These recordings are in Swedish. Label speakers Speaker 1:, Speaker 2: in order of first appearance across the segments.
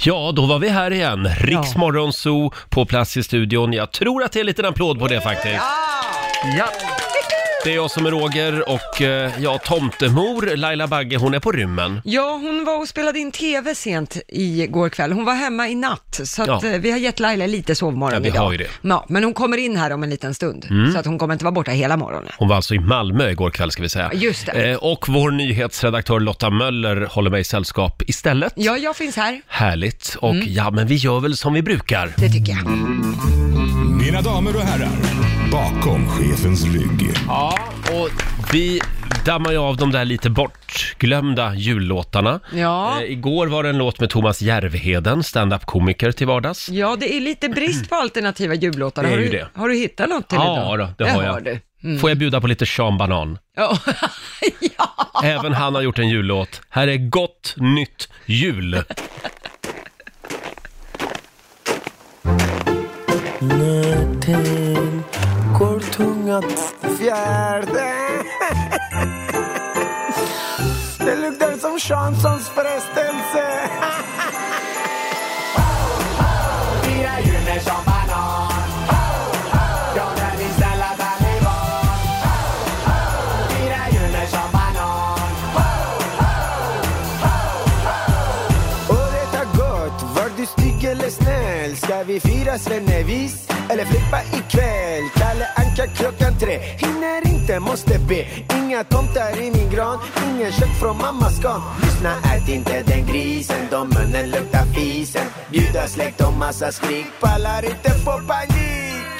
Speaker 1: Ja, då var vi här igen. Riks
Speaker 2: Ja.
Speaker 1: Morgonzoo på plats i studion. Jag tror att det är en liten applåd på det faktiskt.
Speaker 2: Ja.
Speaker 1: Det är jag som är Roger och eh, ja, tomtemor Laila Bagge, hon är på rymmen.
Speaker 2: Ja, hon var och spelade in TV sent igår kväll. Hon var hemma i natt, så att
Speaker 1: Ja.
Speaker 2: eh, vi har gett Laila lite sovmorgon
Speaker 1: Ja, vi
Speaker 2: idag.
Speaker 1: har ju det. Mm.
Speaker 2: Ja, men hon kommer in här om en liten stund, så att hon kommer inte vara borta hela morgonen.
Speaker 1: Hon var alltså i Malmö igår kväll ska vi säga.
Speaker 2: Ja, just det.
Speaker 1: Eh, och vår nyhetsredaktör Lotta Möller håller mig i sällskap istället.
Speaker 2: Ja, Mm. jag finns här.
Speaker 1: Härligt. Och ja, men vi gör väl som vi brukar.
Speaker 2: Det tycker jag.
Speaker 3: Mina damer och herrar, bakom chefens rygg.
Speaker 1: Ja, och vi dammar ju av de där lite bortglömda jullåtarna.
Speaker 2: Ja.
Speaker 1: Eh, igår var det en låt med Thomas Järvheden, stand-up-komiker till vardags.
Speaker 2: Ja, det är lite brist på alternativa jullåtar.
Speaker 1: Det är
Speaker 2: har,
Speaker 1: ju
Speaker 2: du,
Speaker 1: det.
Speaker 2: har du hittat något till
Speaker 1: Ja,
Speaker 2: idag?
Speaker 1: då, det har
Speaker 2: Har
Speaker 1: jag.
Speaker 2: du. Mm.
Speaker 1: Får jag bjuda på lite Sean Banan?
Speaker 2: Ja. ja.
Speaker 1: Även han har gjort en jullåt. Här är Gott Nytt Jul.
Speaker 4: Natten går tungan fjärde Det luktar som Shanssons frestelse Fira jul med Sean Banan Ja, när vi snälla taliban Fira jul med Sean Banan Året har gått, var du stygg eller snäll Ska vi fira svennevis eller flippa ikväll? Kalle Anka klockan tre, hinner inte, måste be Inga tomtar i min gran, ingen kött från mammas garn Lyssna, ät inte den grisen, då munnen luktar fisen Bjuda släkt och massa skrik, pallar inte få panik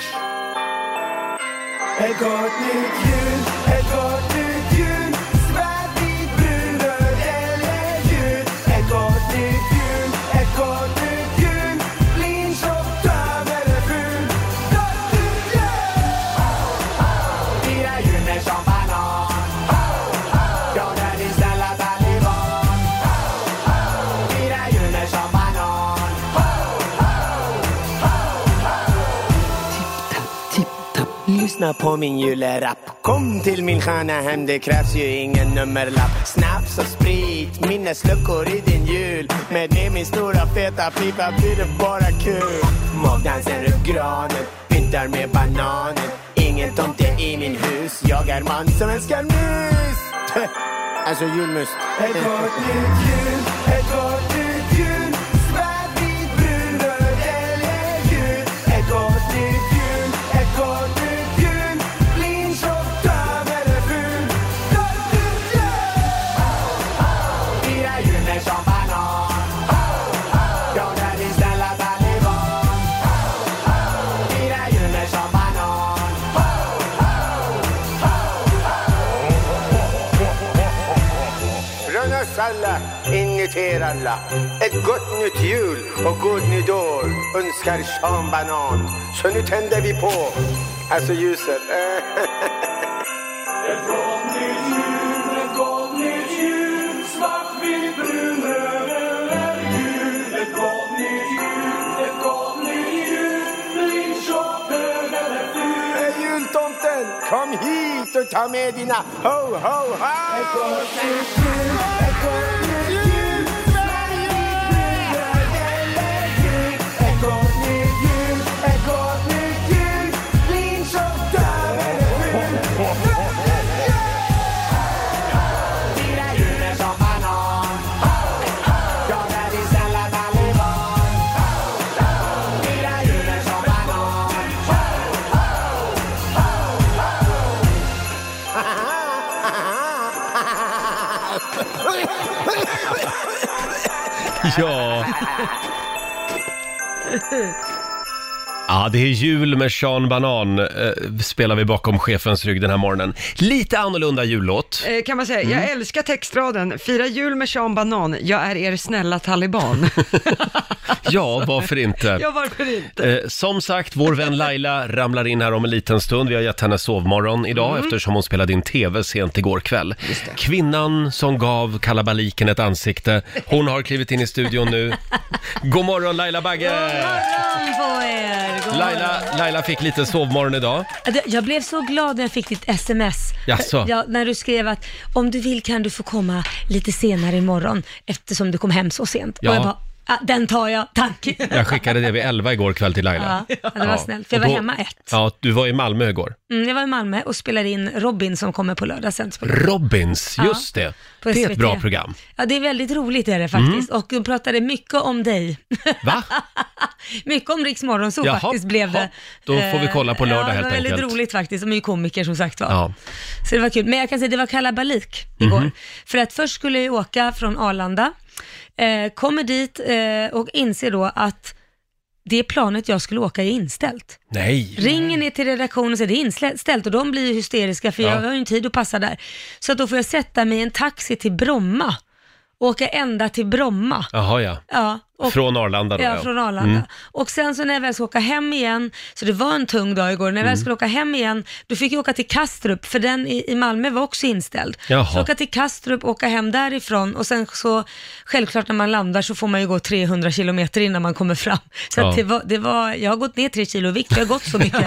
Speaker 4: Ett gott nytt jul, ett gott nytt jul Svär vid brunröd eller ljud Ett gott nytt jul, ett gott nytt jul Lynch och töv eller ful Gott nytt jul! Fira jul med Sean Banan Ja, när ni snälla taliban Fira jul med Sean Banan Tipp-tapp, lyssna på min julerapp Kom till min stjärna hem, det krävs ju ingen nummerlapp Snaps och sprit, minnesluckor i din jul Med det min stora feta pipa blir det bara kul Magdansen runt granen, pyntar med bananen Ingen tomte i min hus, jag är man som älskar mus Alltså julmus Ett gott nytt jul, ett gott nytt jul Svär vid brunröd eller ljud Ett gott nytt jul, ett gott nytt jul Lynch och döv eller ful Gott nytt jul! Fira jul med Sean Banan Ja, när vi snälla taliban Fira jul med Sean Banan Från oss alla, inuti er alla. Ett gott nytt jul och god nytt år önskar Sean Banan. Så nu tänder vi på, alltså ljuset. Eh. Eh, Jultomten, kom hit och ta med dina ho, ho, ho! Ett gott nytt jul, ett gott nytt jul, Sverige! Ett gott nytt jul, ett gott nytt jul, Lynch och Dörr eller hur? Fira julen som banan, jag är din snälla taliban. Fira julen som banan.
Speaker 1: Ja. Ja, det är jul med Sean Banan eh, spelar vi bakom chefens rygg den här morgonen. Lite annorlunda jullåt.
Speaker 2: Eh, Kan man säga, jag
Speaker 1: Mm.
Speaker 2: älskar textraden, fira jul med Sean Banan, jag är er snälla taliban.
Speaker 1: Ja, varför inte?
Speaker 2: ja, varför inte?
Speaker 1: Eh, som sagt, vår vän Laila ramlar in här om en liten stund. Vi har gett henne sovmorgon idag
Speaker 5: Mm.
Speaker 1: eftersom hon spelade in TV sent igår kväll. Kvinnan som gav kalabaliken ett ansikte, hon har klivit in i studion nu. God morgon Laila Bagge!
Speaker 5: morgon på er! God
Speaker 1: Laila,
Speaker 5: morgon.
Speaker 1: Laila fick lite sovmorgon idag.
Speaker 5: Det- Jag blev så glad när jag fick ditt sms.
Speaker 1: Jaså?
Speaker 5: Ja, när du skrev att om du vill kan du få komma lite senare imorgon eftersom du kom hem så sent.
Speaker 1: Ja.
Speaker 5: Och jag bara, ah, den tar jag, tack.
Speaker 1: Jag skickade det vid 11 igår kväll till Laila.
Speaker 5: Ja, det var snällt, för jag
Speaker 1: Och
Speaker 5: var hemma ett.
Speaker 1: Ja, du var i Malmö igår.
Speaker 5: Mm, jag var i Malmö och spelade in Robin som kommer på lördag sänds på lördag.
Speaker 1: Robins,
Speaker 5: Ja,
Speaker 1: just det.
Speaker 5: på
Speaker 1: Det är ett
Speaker 5: SVT.
Speaker 1: bra program. Mm.
Speaker 5: Ja, det är väldigt roligt är det faktiskt. Och de pratade mycket om dig.
Speaker 1: Va?
Speaker 5: mycket om Riks Morgonzoo
Speaker 1: Jaha,
Speaker 5: faktiskt blev
Speaker 1: ja.
Speaker 5: det.
Speaker 1: Då får vi kolla på lördag
Speaker 5: ja,
Speaker 1: helt
Speaker 5: Det var väldigt
Speaker 1: enkelt.
Speaker 5: roligt faktiskt. De är ju komiker som sagt var.
Speaker 1: Ja. Mhm.
Speaker 5: Så det var kul. Men jag kan säga, det var kalabalik igår. För att först skulle jag åka från Arlanda, eh, kommer dit eh, och inser då att det planet jag skulle åka är inställt.
Speaker 1: Nej.
Speaker 5: Ringer ner till redaktionen och säger det är inställt och de blir ju hysteriska för
Speaker 1: Ja.
Speaker 5: jag har ju inte tid att passa där. Så att då får jag sätta mig i en taxi till Bromma, åka ända till Bromma.
Speaker 1: Jaha, ja.
Speaker 5: Ja, och
Speaker 1: Från Arlanda då,
Speaker 5: Ja, från Arlanda.
Speaker 1: Mm.
Speaker 5: Och sen så när jag väl ska åka hem igen, så det var en tung dag igår, när
Speaker 1: Mm.
Speaker 5: jag väl skulle åka hem igen, då fick jag åka till Kastrup, för den i, i Malmö var också inställd.
Speaker 1: Jaha.
Speaker 5: Så åka till Kastrup, åka hem därifrån och sen så, självklart när man landar så får man ju gå 300 kilometer innan man kommer fram. Så
Speaker 1: Ja.
Speaker 5: att det var, det var, jag har gått ner tre kilo i vikt, för jag har gått så mycket.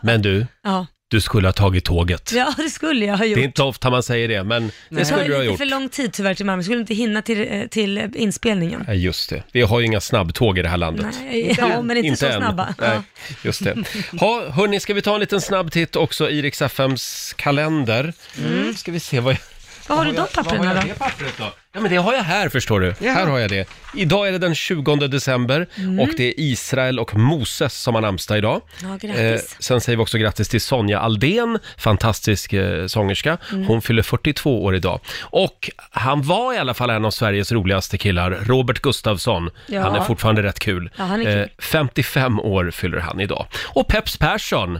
Speaker 1: Men du,
Speaker 5: ja.
Speaker 1: du skulle ha tagit tåget.
Speaker 5: ja, det skulle jag ha gjort.
Speaker 1: Det är inte ofta man säger det, men det skulle
Speaker 5: tar
Speaker 1: du ha
Speaker 5: ju lite
Speaker 1: gjort.
Speaker 5: för lång tid tyvärr till Malmö, jag skulle inte hinna till, eh, till inspelningen.
Speaker 1: Nej, just det. Vi har ju inga snabbtåg i det här landet.
Speaker 5: Nej, ja, men inte, så
Speaker 1: än.
Speaker 5: snabba.
Speaker 1: Nej,
Speaker 5: Ja.
Speaker 1: just det. Ha, hörni, ska vi ta en liten snabb titt också i Rix FMs kalender?
Speaker 5: Mm.
Speaker 1: Ska vi se vad jag...
Speaker 5: Vad har du de
Speaker 1: Vad
Speaker 5: papperna
Speaker 1: har
Speaker 5: då?
Speaker 1: jag det pappret då? Ja, men det har jag här förstår du. Här har jag det. Idag är det den 20 december och det är Israel och Moses som har namnsdag idag.
Speaker 5: Mm.
Speaker 1: Eh,
Speaker 5: Ja, grattis.
Speaker 1: sen säger vi också grattis till Sonja Aldén, fantastisk eh, sångerska.
Speaker 5: Mm.
Speaker 1: Hon fyller 42 år idag. Och han var i alla fall en av Sveriges roligaste killar, Robert Gustafsson.
Speaker 5: Ja.
Speaker 1: Han är fortfarande rätt kul.
Speaker 5: Ja, han är kul.
Speaker 1: 55 Eh, år fyller han idag. Och Peps Persson!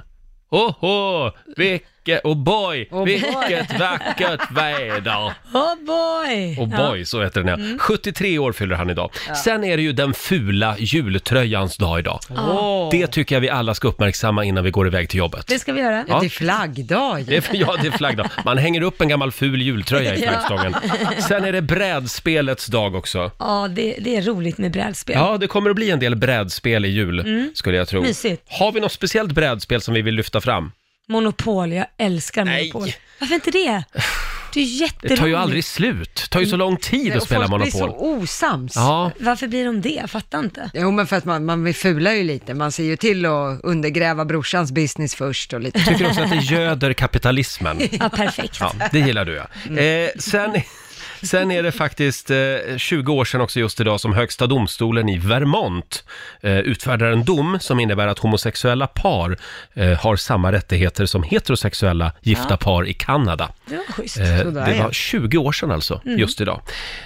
Speaker 1: Oho, vilket, oh boy, vilket vackert väder!
Speaker 5: Oh boy!
Speaker 1: Och boy, så heter den ja.
Speaker 5: Mm.
Speaker 1: 73 år fyller han idag. Sen är det ju den fula jultröjans dag idag. Det tycker jag vi alla ska uppmärksamma innan vi går iväg till jobbet.
Speaker 5: Det ska vi göra.
Speaker 2: Det är flaggdag
Speaker 1: Det
Speaker 2: ju.
Speaker 1: är, ja, det är flaggdag. Man hänger upp en gammal ful jultröja i
Speaker 5: Ja.
Speaker 1: flaggstången. Sen är det brädspelets dag också.
Speaker 5: Ja, det, det är roligt med brädspel.
Speaker 1: Ja, det kommer att bli en del brädspel i jul,
Speaker 2: Mm.
Speaker 1: skulle jag tro.
Speaker 5: Mysigt.
Speaker 1: Har vi något speciellt brädspel som vi vill lyfta fram?
Speaker 5: Monopol, jag älskar
Speaker 1: Nej.
Speaker 5: Monopol. Varför inte det? Det är ju
Speaker 1: Det
Speaker 5: jätteroligt.
Speaker 1: tar ju aldrig slut. Det tar ju så lång tid att
Speaker 2: Och
Speaker 1: spela
Speaker 2: folk blir så
Speaker 1: Monopol.
Speaker 2: osams.
Speaker 1: Ja,
Speaker 5: Varför blir de det? Jag fattar inte.
Speaker 2: Jo, men för att man, man fular ju lite. Man ser ju till att undergräva brorsans business först och lite.
Speaker 1: tycker också att det göder kapitalismen.
Speaker 5: Ja, perfekt.
Speaker 1: Ja, det gillar du ja.
Speaker 2: Mm.
Speaker 1: Eh, sen, sen är det faktiskt eh, 20 år sedan också just idag som högsta domstolen i Vermont eh, utfärdar en dom som innebär att homosexuella par eh, har samma rättigheter som heterosexuella gifta par i Kanada.
Speaker 5: Det var schysst.
Speaker 1: Eh,
Speaker 2: Sådär,
Speaker 1: det
Speaker 2: ja.
Speaker 1: var 20 år sedan alltså, just idag.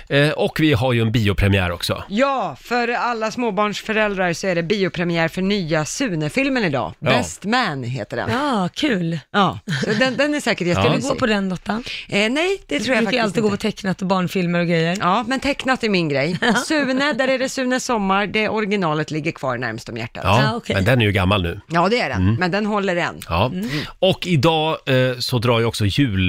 Speaker 1: Eh, och vi har ju en biopremiär också.
Speaker 2: Ja, för alla småbarnsföräldrar så är det biopremiär för nya Sune-filmen idag.
Speaker 1: Ja.
Speaker 2: Best Man heter den.
Speaker 5: Ja, kul.
Speaker 2: Ja, så den, den är säkert
Speaker 5: Ska vi
Speaker 2: jättemysig.
Speaker 5: gå på den Lotta?
Speaker 2: Eh, nej, det tror jag
Speaker 5: brukar ju
Speaker 2: faktiskt
Speaker 5: alltid gå
Speaker 2: inte.
Speaker 5: på tecknat och barnfilmer och grejer.
Speaker 2: Ja, men tecknat är min grej. Sune, där är det Sune Sommar, det originalet ligger kvar närmst om hjärtat. Ja,
Speaker 1: Ja, Mm.
Speaker 5: Ja, okej.
Speaker 1: men den är ju gammal nu.
Speaker 2: det är den, men den håller än.
Speaker 1: Ja. Och idag eh, så drar ju också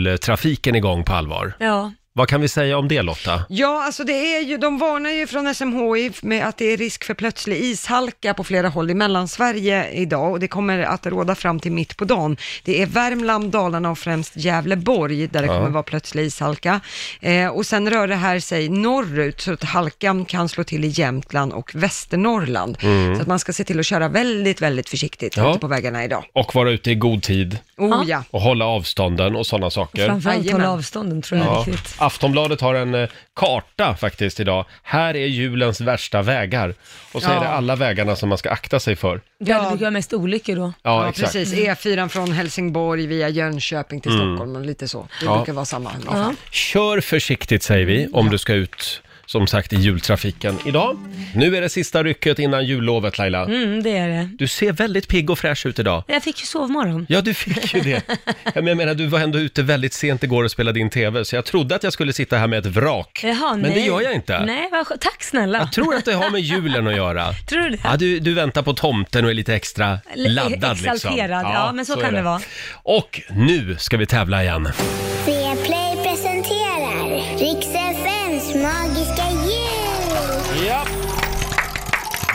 Speaker 1: jultrafiken igång på allvar.
Speaker 5: Ja,
Speaker 1: Vad kan vi säga om det Lotta?
Speaker 2: Ja, alltså det är ju, de varnar ju från SMHI med att det är risk för plötslig ishalka på flera håll i Mellansverige idag och det kommer att råda fram till mitt på dagen. Det är Värmland, Dalarna och främst Gävleborg där det kommer vara plötslig ishalka. Eh, och sen rör det här sig norrut så att halkan kan slå till i Jämtland och Västernorrland. Så att man ska se till att köra väldigt, väldigt försiktigt
Speaker 1: Mm. Ja.
Speaker 2: ute på vägarna idag.
Speaker 1: Och vara ute i god tid.
Speaker 2: Oh ja.
Speaker 5: Ja.
Speaker 1: och hålla avstånden och sådana saker.
Speaker 5: framförallt
Speaker 2: Jajamän.
Speaker 5: hålla avstånden tror jag
Speaker 1: Ja.
Speaker 5: är viktigt.
Speaker 1: Aftonbladet har en eh, karta faktiskt idag. Här är julens värsta vägar. Och så är
Speaker 2: Ja.
Speaker 1: det alla vägarna som man ska akta sig för.
Speaker 5: Det ja. brukar vara mest olyckor då.
Speaker 1: Ja,
Speaker 2: Ja,
Speaker 1: exakt.
Speaker 2: precis. E4 från Helsingborg via Jönköping till Stockholm och lite så. Det
Speaker 1: Mm. Ja.
Speaker 2: brukar vara samma.
Speaker 5: Ja.
Speaker 1: Kör försiktigt säger vi om du ska ut som sagt i jultrafiken idag. Nu är det sista rycket innan jullovet Laila.
Speaker 5: Mm, det är det.
Speaker 1: Du ser väldigt pigg och fräsch ut idag.
Speaker 5: Jag fick ju sovmorgon.
Speaker 1: Ja, du fick ju det. Ja, Men jag menar, du var ändå ute väldigt sent igår och spelade in TV, så jag trodde att jag skulle sitta här med ett vrak.
Speaker 5: Jaha,
Speaker 1: Men
Speaker 5: nej.
Speaker 1: det gör jag inte.
Speaker 5: Nej, vad skö- Tack snälla.
Speaker 1: Jag tror att det har med julen att göra.
Speaker 5: Tror du det?
Speaker 1: Ja, du, du väntar på tomten och är lite extra
Speaker 5: L-
Speaker 1: laddad liksom.
Speaker 5: exalterad. Ja, men så
Speaker 1: är
Speaker 5: kan det vara.
Speaker 1: Och nu ska vi tävla igen.
Speaker 6: Play presenterar Riks-FMs magiska jul!
Speaker 1: Ja.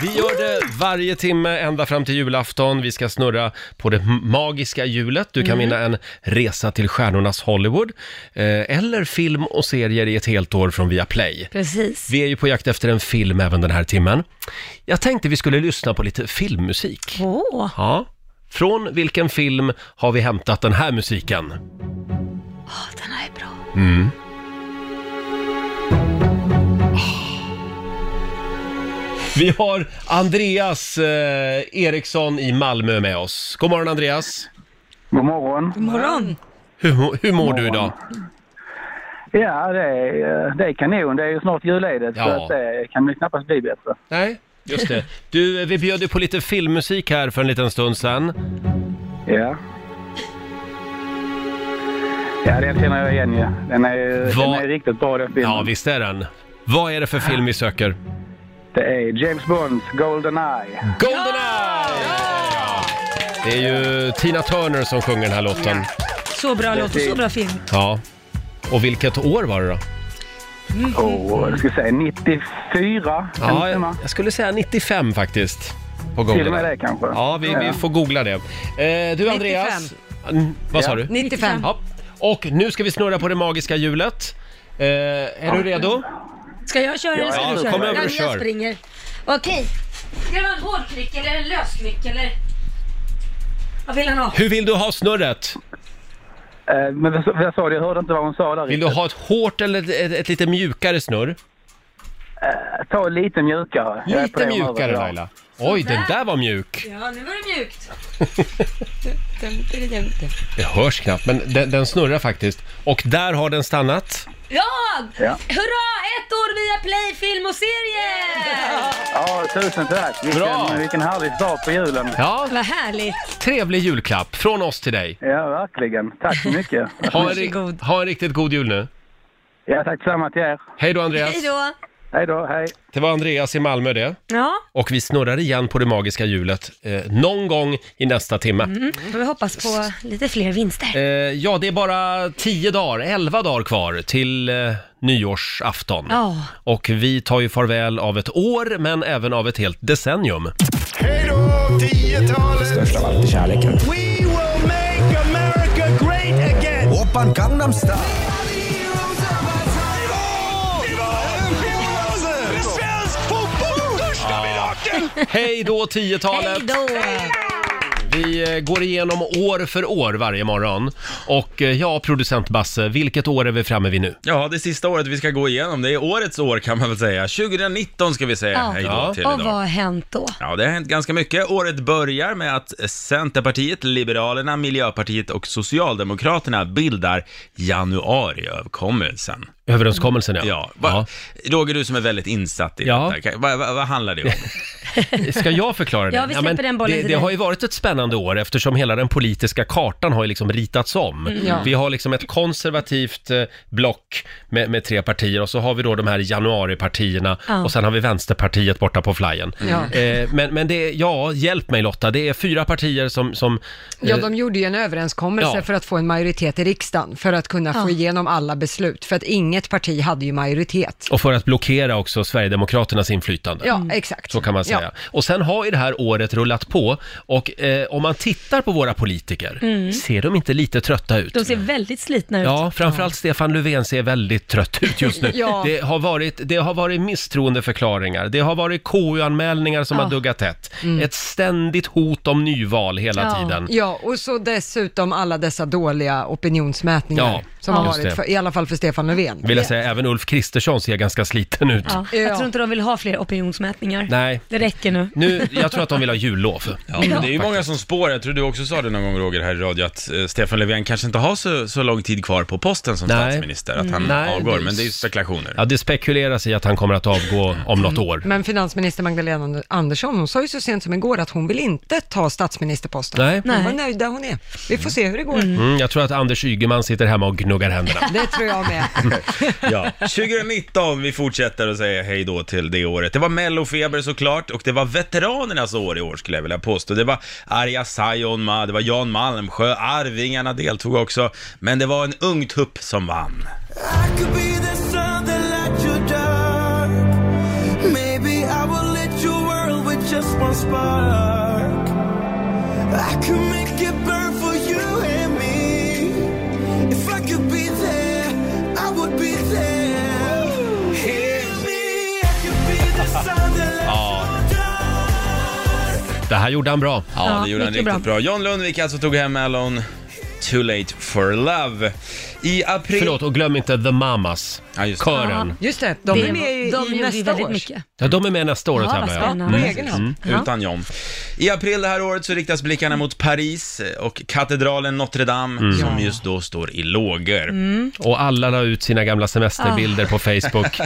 Speaker 1: Vi gör det varje timme ända fram till julafton. Vi ska snurra på det magiska hjulet. Du kan vinna en resa till stjärnornas Hollywood eh, eller film och serier i ett helt år från Viaplay.
Speaker 5: Precis.
Speaker 1: Vi är ju på jakt efter en film även den här timmen. Jag tänkte vi skulle lyssna på lite filmmusik.
Speaker 5: Åh,
Speaker 1: Ja. Från vilken film har vi hämtat den här musiken?
Speaker 5: åh, den här är bra.
Speaker 1: Vi har Andreas eh, Eriksson i Malmö med oss. God morgon Andreas!
Speaker 6: God morgon.
Speaker 5: God morgon.
Speaker 1: Hur, mo- hur mår du idag?
Speaker 6: Ja, det är, eh, det är kanon. Det är ju snart julledigt så
Speaker 1: Ja.
Speaker 6: att det kan ju knappast bli bättre.
Speaker 1: Nej, just det. Du, eh, vi bjöd ju på lite filmmusik här för en liten stund sedan.
Speaker 6: Ja. Ja, den känner jag igen ju. Den är, ju-
Speaker 1: Vad-
Speaker 6: den är riktigt bra den filmen.
Speaker 1: Ja, visst är den. Vad är det för film vi söker?
Speaker 6: Det är James Bonds Golden Eye.
Speaker 1: Goldeneye! Det är ju Tina Turner som sjunger den här låten.
Speaker 5: Så bra låt och så bra film.
Speaker 1: Ja. Och vilket år var det då?
Speaker 6: Och jag ska säga 94 kan det
Speaker 1: Ja,
Speaker 6: stämma?
Speaker 1: jag, jag skulle säga 95 faktiskt.
Speaker 6: Till
Speaker 1: På
Speaker 6: och med det
Speaker 1: Goldeneye.
Speaker 6: kanske.
Speaker 1: Ja, vi, vi får googla det. Eh, du Andreas. Mm, Vad sa du?
Speaker 2: 95.
Speaker 1: Ja. Och nu ska vi snurra på det magiska hjulet. Eh, är du redo?
Speaker 5: Ska jag köra eller ska
Speaker 1: Ja,
Speaker 5: du
Speaker 1: så
Speaker 5: köra?
Speaker 1: kom över och
Speaker 5: jag
Speaker 1: kör.
Speaker 5: springer. Okej. Ska det vara en hårdklick eller en lösklick eller? Vad vill han ha?
Speaker 1: Hur vill du ha snurret?
Speaker 6: Eh, Men vad sa- vad sa du? Jag hörde inte vad hon sa där
Speaker 1: Vill du
Speaker 6: riktigt.
Speaker 1: ha ett hårt eller ett, ett, ett lite mjukare snurr?
Speaker 6: Ta lite mjukare. Jag är på det
Speaker 1: Lite
Speaker 6: humöret
Speaker 1: mjukare
Speaker 6: idag.
Speaker 1: Laila. Oj, den där var mjuk.
Speaker 5: Ja, nu var det mjukt.
Speaker 1: Det hörs knappt, men den, den snurrar faktiskt. Och där har den stannat.
Speaker 5: Ja!
Speaker 6: Ja.
Speaker 5: Hurra! Ett år via Play, film och serier!
Speaker 6: Ja, tusen tack.
Speaker 1: Bra.
Speaker 6: Vilken, vilken härlig start på julen.
Speaker 1: Ja,
Speaker 5: Vad härligt.
Speaker 1: trevlig julklapp från oss till dig.
Speaker 6: Ja, verkligen. Tack så mycket.
Speaker 1: Ha en,
Speaker 5: Varsågod.
Speaker 1: ri- ha en riktigt god jul nu.
Speaker 6: Ja, tack samma till er.
Speaker 1: Hej då Andreas.
Speaker 5: Hej då.
Speaker 6: Hej då, hej.
Speaker 1: Det var Andreas i Malmö det.
Speaker 5: Ja,
Speaker 1: Och vi snurrar igen på det magiska hjulet eh, någon gång i nästa timme.
Speaker 5: får vi hoppas på lite fler vinster.
Speaker 1: Eh, ja, det är bara 10 dagar, 11 dagar kvar till eh, nyårsafton.
Speaker 5: Ja.
Speaker 1: Och vi tar ju farväl av ett år, men även av ett helt decennium.
Speaker 4: Hej då, 10-talet! Störst av allt är kärleken. We will make America great again!
Speaker 7: Oppan Gangnam Style.
Speaker 1: Hej då 10-talet!
Speaker 5: Hej då!
Speaker 1: Vi eh, går igenom år för år varje morgon. Och eh, ja, producent Basse, vilket år är vi framme vid nu?
Speaker 8: Ja, det sista året vi ska gå igenom, det är årets år kan man väl säga. 2019 ska vi säga
Speaker 5: Ja.
Speaker 8: hej
Speaker 1: Ja.
Speaker 8: då till
Speaker 5: Och vad
Speaker 8: idag.
Speaker 5: har hänt då?
Speaker 8: Ja, det har hänt ganska mycket. Året börjar med att Centerpartiet, Liberalerna, Miljöpartiet och Socialdemokraterna bildar januariöverenskommelsen.
Speaker 1: Överenskommelsen ja.
Speaker 8: Ja, va, Roger, du som är väldigt insatt i
Speaker 1: Ja.
Speaker 8: detta, kan- vad va, vad handlar det om?
Speaker 1: Ska jag förklara det?
Speaker 5: Ja, vi släpper den bollen
Speaker 1: det,
Speaker 5: till
Speaker 1: det
Speaker 5: dig.
Speaker 1: har ju varit ett spännande år eftersom hela den politiska kartan har ju liksom ritats om.
Speaker 5: Mm.
Speaker 2: Ja.
Speaker 1: Vi har liksom ett konservativt eh, block med, med tre partier och så har vi då de här januaripartierna
Speaker 5: Ja.
Speaker 1: och sen har vi Vänsterpartiet borta på flyen.
Speaker 2: Ja.
Speaker 1: Eh, men, men det är, ja, hjälp mig Lotta, det är fyra partier som, som
Speaker 2: Ja, de gjorde ju en överenskommelse
Speaker 1: Eh, Ja.
Speaker 2: för att få en majoritet i riksdagen, för att kunna få igenom alla beslut, för att inget parti hade ju majoritet.
Speaker 1: och för att blockera också Sverigedemokraternas inflytande.
Speaker 2: Ja,
Speaker 5: Mm.
Speaker 2: exakt.
Speaker 1: Så kan man säga.
Speaker 2: Ja.
Speaker 1: Och sen har ju det här året rullat på och eh, om man tittar på våra politiker,
Speaker 5: Mm.
Speaker 1: ser de inte lite trötta ut?
Speaker 5: De ser väldigt slitna ut.
Speaker 1: Ja, framförallt Stefan Löfven ser väldigt trött ut just nu.
Speaker 2: Ja.
Speaker 1: det, har varit, det har varit misstroendeförklaringar, det har varit KU-anmälningar som har duggat tätt. Ett ständigt hot om nyval hela
Speaker 5: Ja.
Speaker 1: tiden.
Speaker 2: Ja, och så dessutom alla dessa dåliga opinionsmätningar
Speaker 1: Ja,
Speaker 2: som
Speaker 1: just
Speaker 2: har
Speaker 1: det.
Speaker 2: varit, för, i alla fall för Stefan Löfven.
Speaker 1: Vill jag säga, även Ulf Kristersson ser ganska sliten ut.
Speaker 5: Ja.
Speaker 2: Ja.
Speaker 5: Jag tror inte de vill ha fler opinionsmätningar.
Speaker 1: Nej.
Speaker 5: Det räcker nu.
Speaker 1: Nu, jag tror att de vill ha jullov.
Speaker 8: Ja, men det är ju många som spår, jag tror du också sa det någon gång Roger här i radio, att eh, Stefan Löfven kanske inte har så, så lång tid kvar på posten som
Speaker 1: Nej. Mm.
Speaker 8: statsminister, att han
Speaker 1: Nej,
Speaker 8: avgår,
Speaker 1: det-
Speaker 8: men det är ju spekulationer.
Speaker 1: Ja, det spekuleras i att han kommer att avgå om något år.
Speaker 2: Men finansminister Magdalena Andersson, hon sa ju så sent som igår att hon vill inte ta statsministerposten.
Speaker 1: Nej.
Speaker 2: Hon var
Speaker 5: Nej.
Speaker 2: nöjd där hon är. Vi får se hur det går.
Speaker 1: Mm, jag tror att Anders Ygeman sitter hemma och gnuggar händerna.
Speaker 2: Det tror jag med.
Speaker 8: Ja, 2019, vi fortsätter att säga hej då till det året. Det var mellofeber såklart och det var veteranernas år i år skulle jag vilja påstå. Det var Arja Saijonmaa, det var Jan Malmsjö, Arvingarna deltog också, men det var en ung tupp som vann.
Speaker 7: I could be the sun that lights your dark. Maybe I will let your world without just one spark. I could make it burn for you and me. If I could be there, I would be there. Hear me, I could be the sun that lights your dark.
Speaker 1: Det här gjorde han bra.
Speaker 8: Ja,
Speaker 5: Ja,
Speaker 8: det gjorde han
Speaker 5: mycket
Speaker 8: riktigt bra. John Lundvik alltså tog hem Alone Too Late For Love. I april...
Speaker 1: Förlåt, och glöm inte The Mamas,
Speaker 8: Ja, just det.
Speaker 1: kören.
Speaker 2: Just det, de är med
Speaker 5: de
Speaker 2: ju i
Speaker 5: gjorde ju
Speaker 2: nästa
Speaker 5: väldigt
Speaker 2: års.
Speaker 5: mycket.
Speaker 1: Ja, de är med nästa år och
Speaker 5: Ja, vad
Speaker 1: tävlar.
Speaker 5: spännande.
Speaker 2: På
Speaker 5: Mm.
Speaker 2: egen hand.
Speaker 5: Ja.
Speaker 8: Utan John. I april det här året så riktas blickarna mot Paris eh, och katedralen Notre Dame som just då står i lågor.
Speaker 1: Och alla la ut sina gamla semesterbilder på Facebook.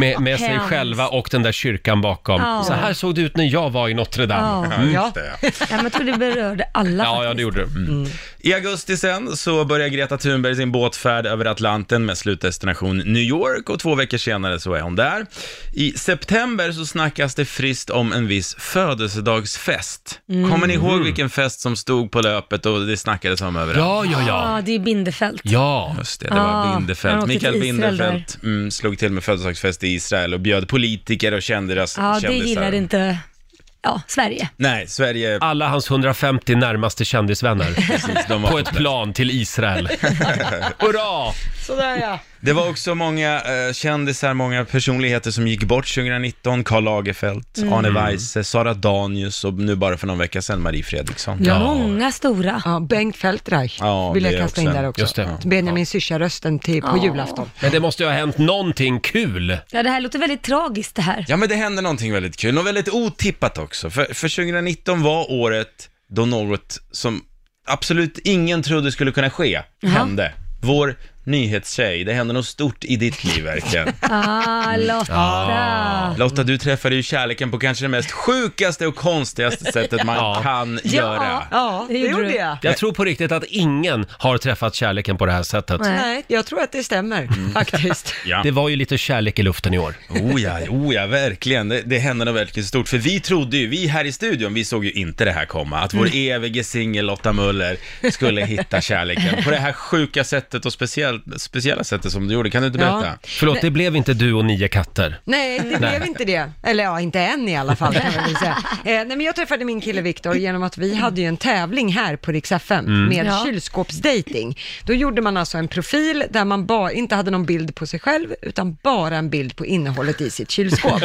Speaker 1: Med, med sig
Speaker 5: Ah. Hemskt.
Speaker 1: själva och den där kyrkan bakom.
Speaker 5: Ja.
Speaker 1: Så här såg det ut när jag var i Notre Dame.
Speaker 5: Ja.
Speaker 8: Ja, just det.
Speaker 5: Ja, men jag tror det berörde alla
Speaker 8: Ja, ja,
Speaker 5: faktiskt.
Speaker 8: det gjorde det.
Speaker 1: Mm.
Speaker 8: I augusti sen så börjar Greta Thunberg sin båtfärd över Atlanten med slutdestination New York och två veckor senare så är hon där. I september så snackas det friskt om en viss födelsedagsfest. Kommer ni ihåg vilken fest som stod på löpet och det snackades om överallt?
Speaker 1: Ja, ja, ja.
Speaker 5: Ja, det är Bindefält.
Speaker 1: Ja,
Speaker 8: Just det, det var
Speaker 5: Ah, han
Speaker 8: Bindefeld.
Speaker 5: åkte
Speaker 8: Mikael
Speaker 5: till Israel
Speaker 8: Bindefeld mm, slog till med födelsedagsfest i Israel och bjöd politiker och kändis,
Speaker 5: Ja, Ah, det
Speaker 8: kändisar.
Speaker 5: gillar inte Ah. ja, Sverige.
Speaker 8: Nej, Sverige,
Speaker 1: alla hans 150 närmaste kändisvänner.
Speaker 8: precis, de var
Speaker 1: På ett plan till Israel. Hurra!
Speaker 2: Sådär ja.
Speaker 8: Det var också många eh, kändisar, många personligheter som gick bort 2019. Karl Lagerfeld,
Speaker 5: Mm.
Speaker 8: Arne Weise, Sara Danius och nu bara för någon vecka sedan Marie Fredriksson.
Speaker 5: Ja. Många stora.
Speaker 2: Ja, Bengt Fältreich
Speaker 8: Ja,
Speaker 2: vill jag
Speaker 8: det är
Speaker 2: kasta in
Speaker 8: också
Speaker 2: där
Speaker 8: en-
Speaker 2: också. Mm.
Speaker 1: Just det.
Speaker 2: Benjamin Syrsa-rösten till- på
Speaker 5: Ja.
Speaker 2: julafton.
Speaker 1: Men det måste ju ha hänt någonting kul.
Speaker 5: Ja, det här låter väldigt tragiskt det här.
Speaker 8: Ja, men det hände någonting väldigt kul och väldigt otippat också. För, för 2019 var året då något som absolut ingen trodde skulle kunna ske hände. Vår nyhetstjej, det hände något stort i ditt liv verkligen.
Speaker 5: Ah, Lotta.
Speaker 8: Lotta, du träffade ju kärleken på kanske det mest sjukaste och konstigaste sättet man
Speaker 1: Ja.
Speaker 8: kan göra.
Speaker 2: Ja,
Speaker 5: det gjorde du.
Speaker 2: jag.
Speaker 1: Jag tror på riktigt att ingen har träffat kärleken på det här sättet.
Speaker 5: Nej.
Speaker 2: Nej, jag tror att det stämmer
Speaker 8: Mm.
Speaker 2: faktiskt.
Speaker 8: Ja.
Speaker 1: Det var ju lite kärlek i luften i år.
Speaker 8: Oh ja, oh ja, verkligen. Det, det hände något verkligen stort. För vi trodde ju, vi här i studion, vi såg ju inte det här komma. Att vår
Speaker 1: Mm.
Speaker 8: evige singel Lotta Möller skulle hitta kärleken på det här sjuka sättet och speciellt, speciella sättet som du gjorde. Kan du inte
Speaker 2: Ja.
Speaker 8: berätta?
Speaker 1: Förlåt, det blev inte du och nio katter.
Speaker 2: Nej, det blev inte det. Eller ja, inte än i alla fall kan man väl säga. Eh, nej, men jag träffade min kille Viktor genom att vi hade ju en tävling här på Rix FM med
Speaker 5: Ja.
Speaker 2: kylskåpsdating. Då gjorde man alltså en profil där man bara, inte hade någon bild på sig själv, utan bara en bild på innehållet i sitt kylskåp.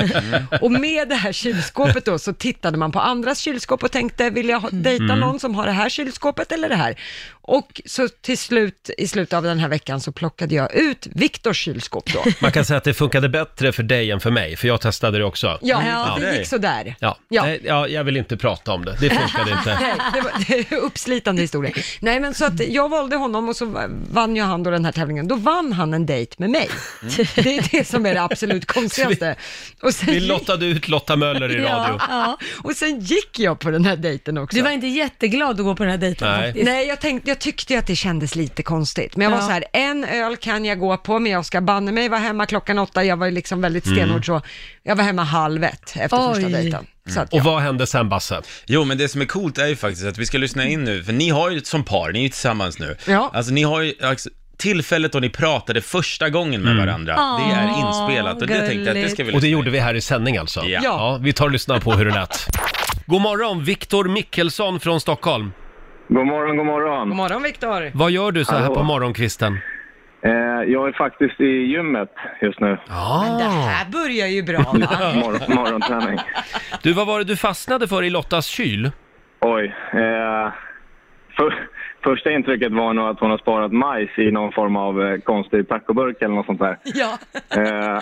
Speaker 2: Och med det här kylskåpet då så tittade man på andras kylskåp och tänkte, vill jag ha- dejta någon som har det här kylskåpet eller det här? Och så till slut, i slutet av den här veckan, så plockade jag ut Viktors kylskåp då.
Speaker 1: Man kan säga att det funkade bättre för dig än för mig, för jag testade det också. Mm.
Speaker 2: Ja,
Speaker 5: Ja.
Speaker 2: det gick sådär.
Speaker 1: Ja,
Speaker 2: Ja.
Speaker 1: Nej, ja jag vill inte prata om det. Det funkade inte.
Speaker 2: Nej, det var det är uppslitande historia. Nej, men så att jag valde honom och så vann ju han då den här tävlingen. Då vann han en dejt med mig.
Speaker 1: Mm.
Speaker 2: Det är det som är det absolut konstigaste. Och sen,
Speaker 1: Vi
Speaker 2: gick,
Speaker 1: lottade ut Lotta Möller i radio.
Speaker 5: Ja, ja.
Speaker 2: och sen gick jag på den här dejten också.
Speaker 5: Du var inte jätteglad att gå på den här dejten
Speaker 1: Nej.
Speaker 5: faktiskt.
Speaker 2: Nej, jag, tänkte, jag tyckte ju att det kändes lite konstigt. Men jag var
Speaker 5: Ja.
Speaker 2: så här, en öl kan jag gå på, men jag ska banne mig vara hemma klockan åtta. Jag var ju liksom väldigt
Speaker 1: Mm.
Speaker 2: stenhård så. Jag var hemma halv ett efter första
Speaker 5: Oj.
Speaker 2: dejten. Så att,
Speaker 1: Och
Speaker 2: ja.
Speaker 1: vad hände sen, Basse?
Speaker 8: Jo, men det som är coolt är ju faktiskt att vi ska lyssna in nu, för ni har ju som par, ni är ju tillsammans nu.
Speaker 2: Ja.
Speaker 8: Alltså ni har ju alltså, tillfället då ni pratade första gången med varandra, det är inspelat och det tänkte jag att det ska vi
Speaker 1: Mm. Och det
Speaker 8: lyssna in.
Speaker 1: gjorde vi här i sändning alltså?
Speaker 8: Ja.
Speaker 1: ja vi tar och lyssnar på hur det lät. God morgon, Viktor Mickelsson från Stockholm.
Speaker 9: God morgon, god morgon.
Speaker 2: God morgon Viktor!
Speaker 1: Vad gör du så här
Speaker 9: Hallå.
Speaker 1: på morgonkvisten?
Speaker 9: Eh, jag är faktiskt i gymmet just nu.
Speaker 2: Det
Speaker 1: Ah.
Speaker 2: här börjar ju bra va?
Speaker 9: Mor- morgonträning.
Speaker 1: Du, vad var det du fastnade för i Lottas kyl?
Speaker 9: Oj. Eh, för, första intrycket var nog att hon har sparat majs i någon form av eh, konstig tacoburk eller något sånt där.
Speaker 2: Ja.
Speaker 9: Eh,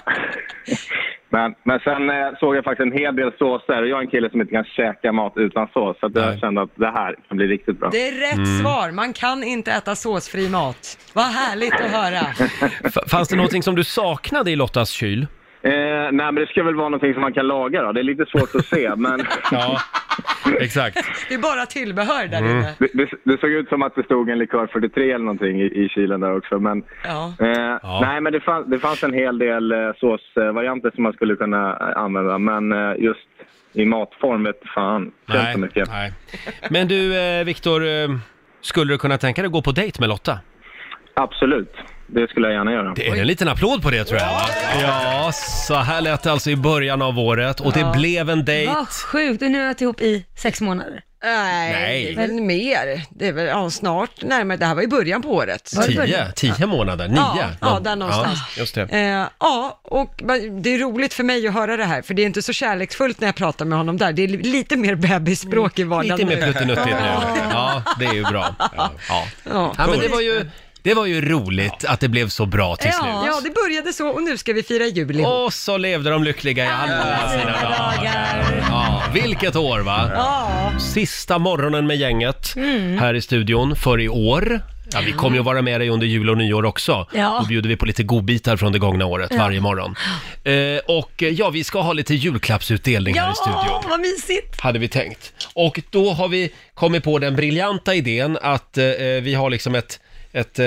Speaker 9: men, men sen eh, såg jag faktiskt en hel del såser och jag är en kille som inte kan käka mat utan sås. Så att jag
Speaker 1: Nej.
Speaker 9: kände att det här kan bli riktigt bra.
Speaker 2: Det är rätt
Speaker 1: Mm.
Speaker 2: svar. Man kan inte äta såsfri mat. Vad härligt att höra.
Speaker 1: F- fanns det någonting som du saknade i Lottas kyl?
Speaker 9: Eh, nej, men det ska väl vara någonting som man kan laga då. Det är lite svårt att se, men...
Speaker 1: Ja, exakt.
Speaker 2: Det är bara tillbehör där
Speaker 1: Mm.
Speaker 2: inne.
Speaker 9: Det, det, det såg ut som att det stod en likör 43 eller någonting i, i kylen där också. Men,
Speaker 2: Ja.
Speaker 9: eh,
Speaker 1: Ja.
Speaker 9: Nej, men det, fann, det fanns en hel del eh, såsvarianter som man skulle kunna eh, använda. Men eh, just i matform vet fan. Känns så mycket.
Speaker 1: nej. Men du, eh, Viktor, eh, skulle du kunna tänka dig att gå på dejt med Lotta?
Speaker 9: Absolut. det skulle jag gärna göra.
Speaker 1: Det är en liten applåd på det tror jag. va? Ja, så här lät det alltså i början av året och det
Speaker 5: Ja.
Speaker 1: blev en dejt.
Speaker 5: Vad sjukt, och nu har jag varit ihop i sex månader.
Speaker 2: Nej,
Speaker 1: Nej.
Speaker 2: det är väl mer. Det är väl ja, snart närmare. Det här var i början på året.
Speaker 5: Var det
Speaker 1: Tio,
Speaker 5: början?
Speaker 1: tio månader, nio.
Speaker 2: Ja, ja, där någonstans.
Speaker 1: Ja, just det.
Speaker 2: Eh, ja, och men det är roligt för mig att höra det här, för det är inte så kärleksfullt när jag pratar med honom där. Det är li- lite mer bebisspråk i vardagen
Speaker 1: Lite mer
Speaker 2: nu.
Speaker 1: pluttenuttigt nu. Ja, det är ju bra. Ja, ja.
Speaker 2: Ja.
Speaker 1: men det var ju, det var ju roligt att det blev så bra till
Speaker 5: Ja.
Speaker 1: slut.
Speaker 2: ja, det började så och nu ska vi fira jul ihop.
Speaker 1: Och så levde de lyckliga i alla
Speaker 5: Alla
Speaker 1: sina
Speaker 5: sina
Speaker 1: dagar.
Speaker 5: dagar.
Speaker 1: Ja, vilket år va? Sista morgonen med gänget här i studion för i år. Mm. Ja, vi kommer ju att vara med dig under jul och nyår också.
Speaker 5: Ja.
Speaker 1: Då bjuder vi på lite godbitar från det gångna året varje morgon. Eh, och eh, ja, vi ska ha lite julklappsutdelning här i studion.
Speaker 5: Ja, vad mysigt.
Speaker 1: hade vi tänkt. Och då har vi kommit på den briljanta idén att eh, vi har liksom ett, ett eh,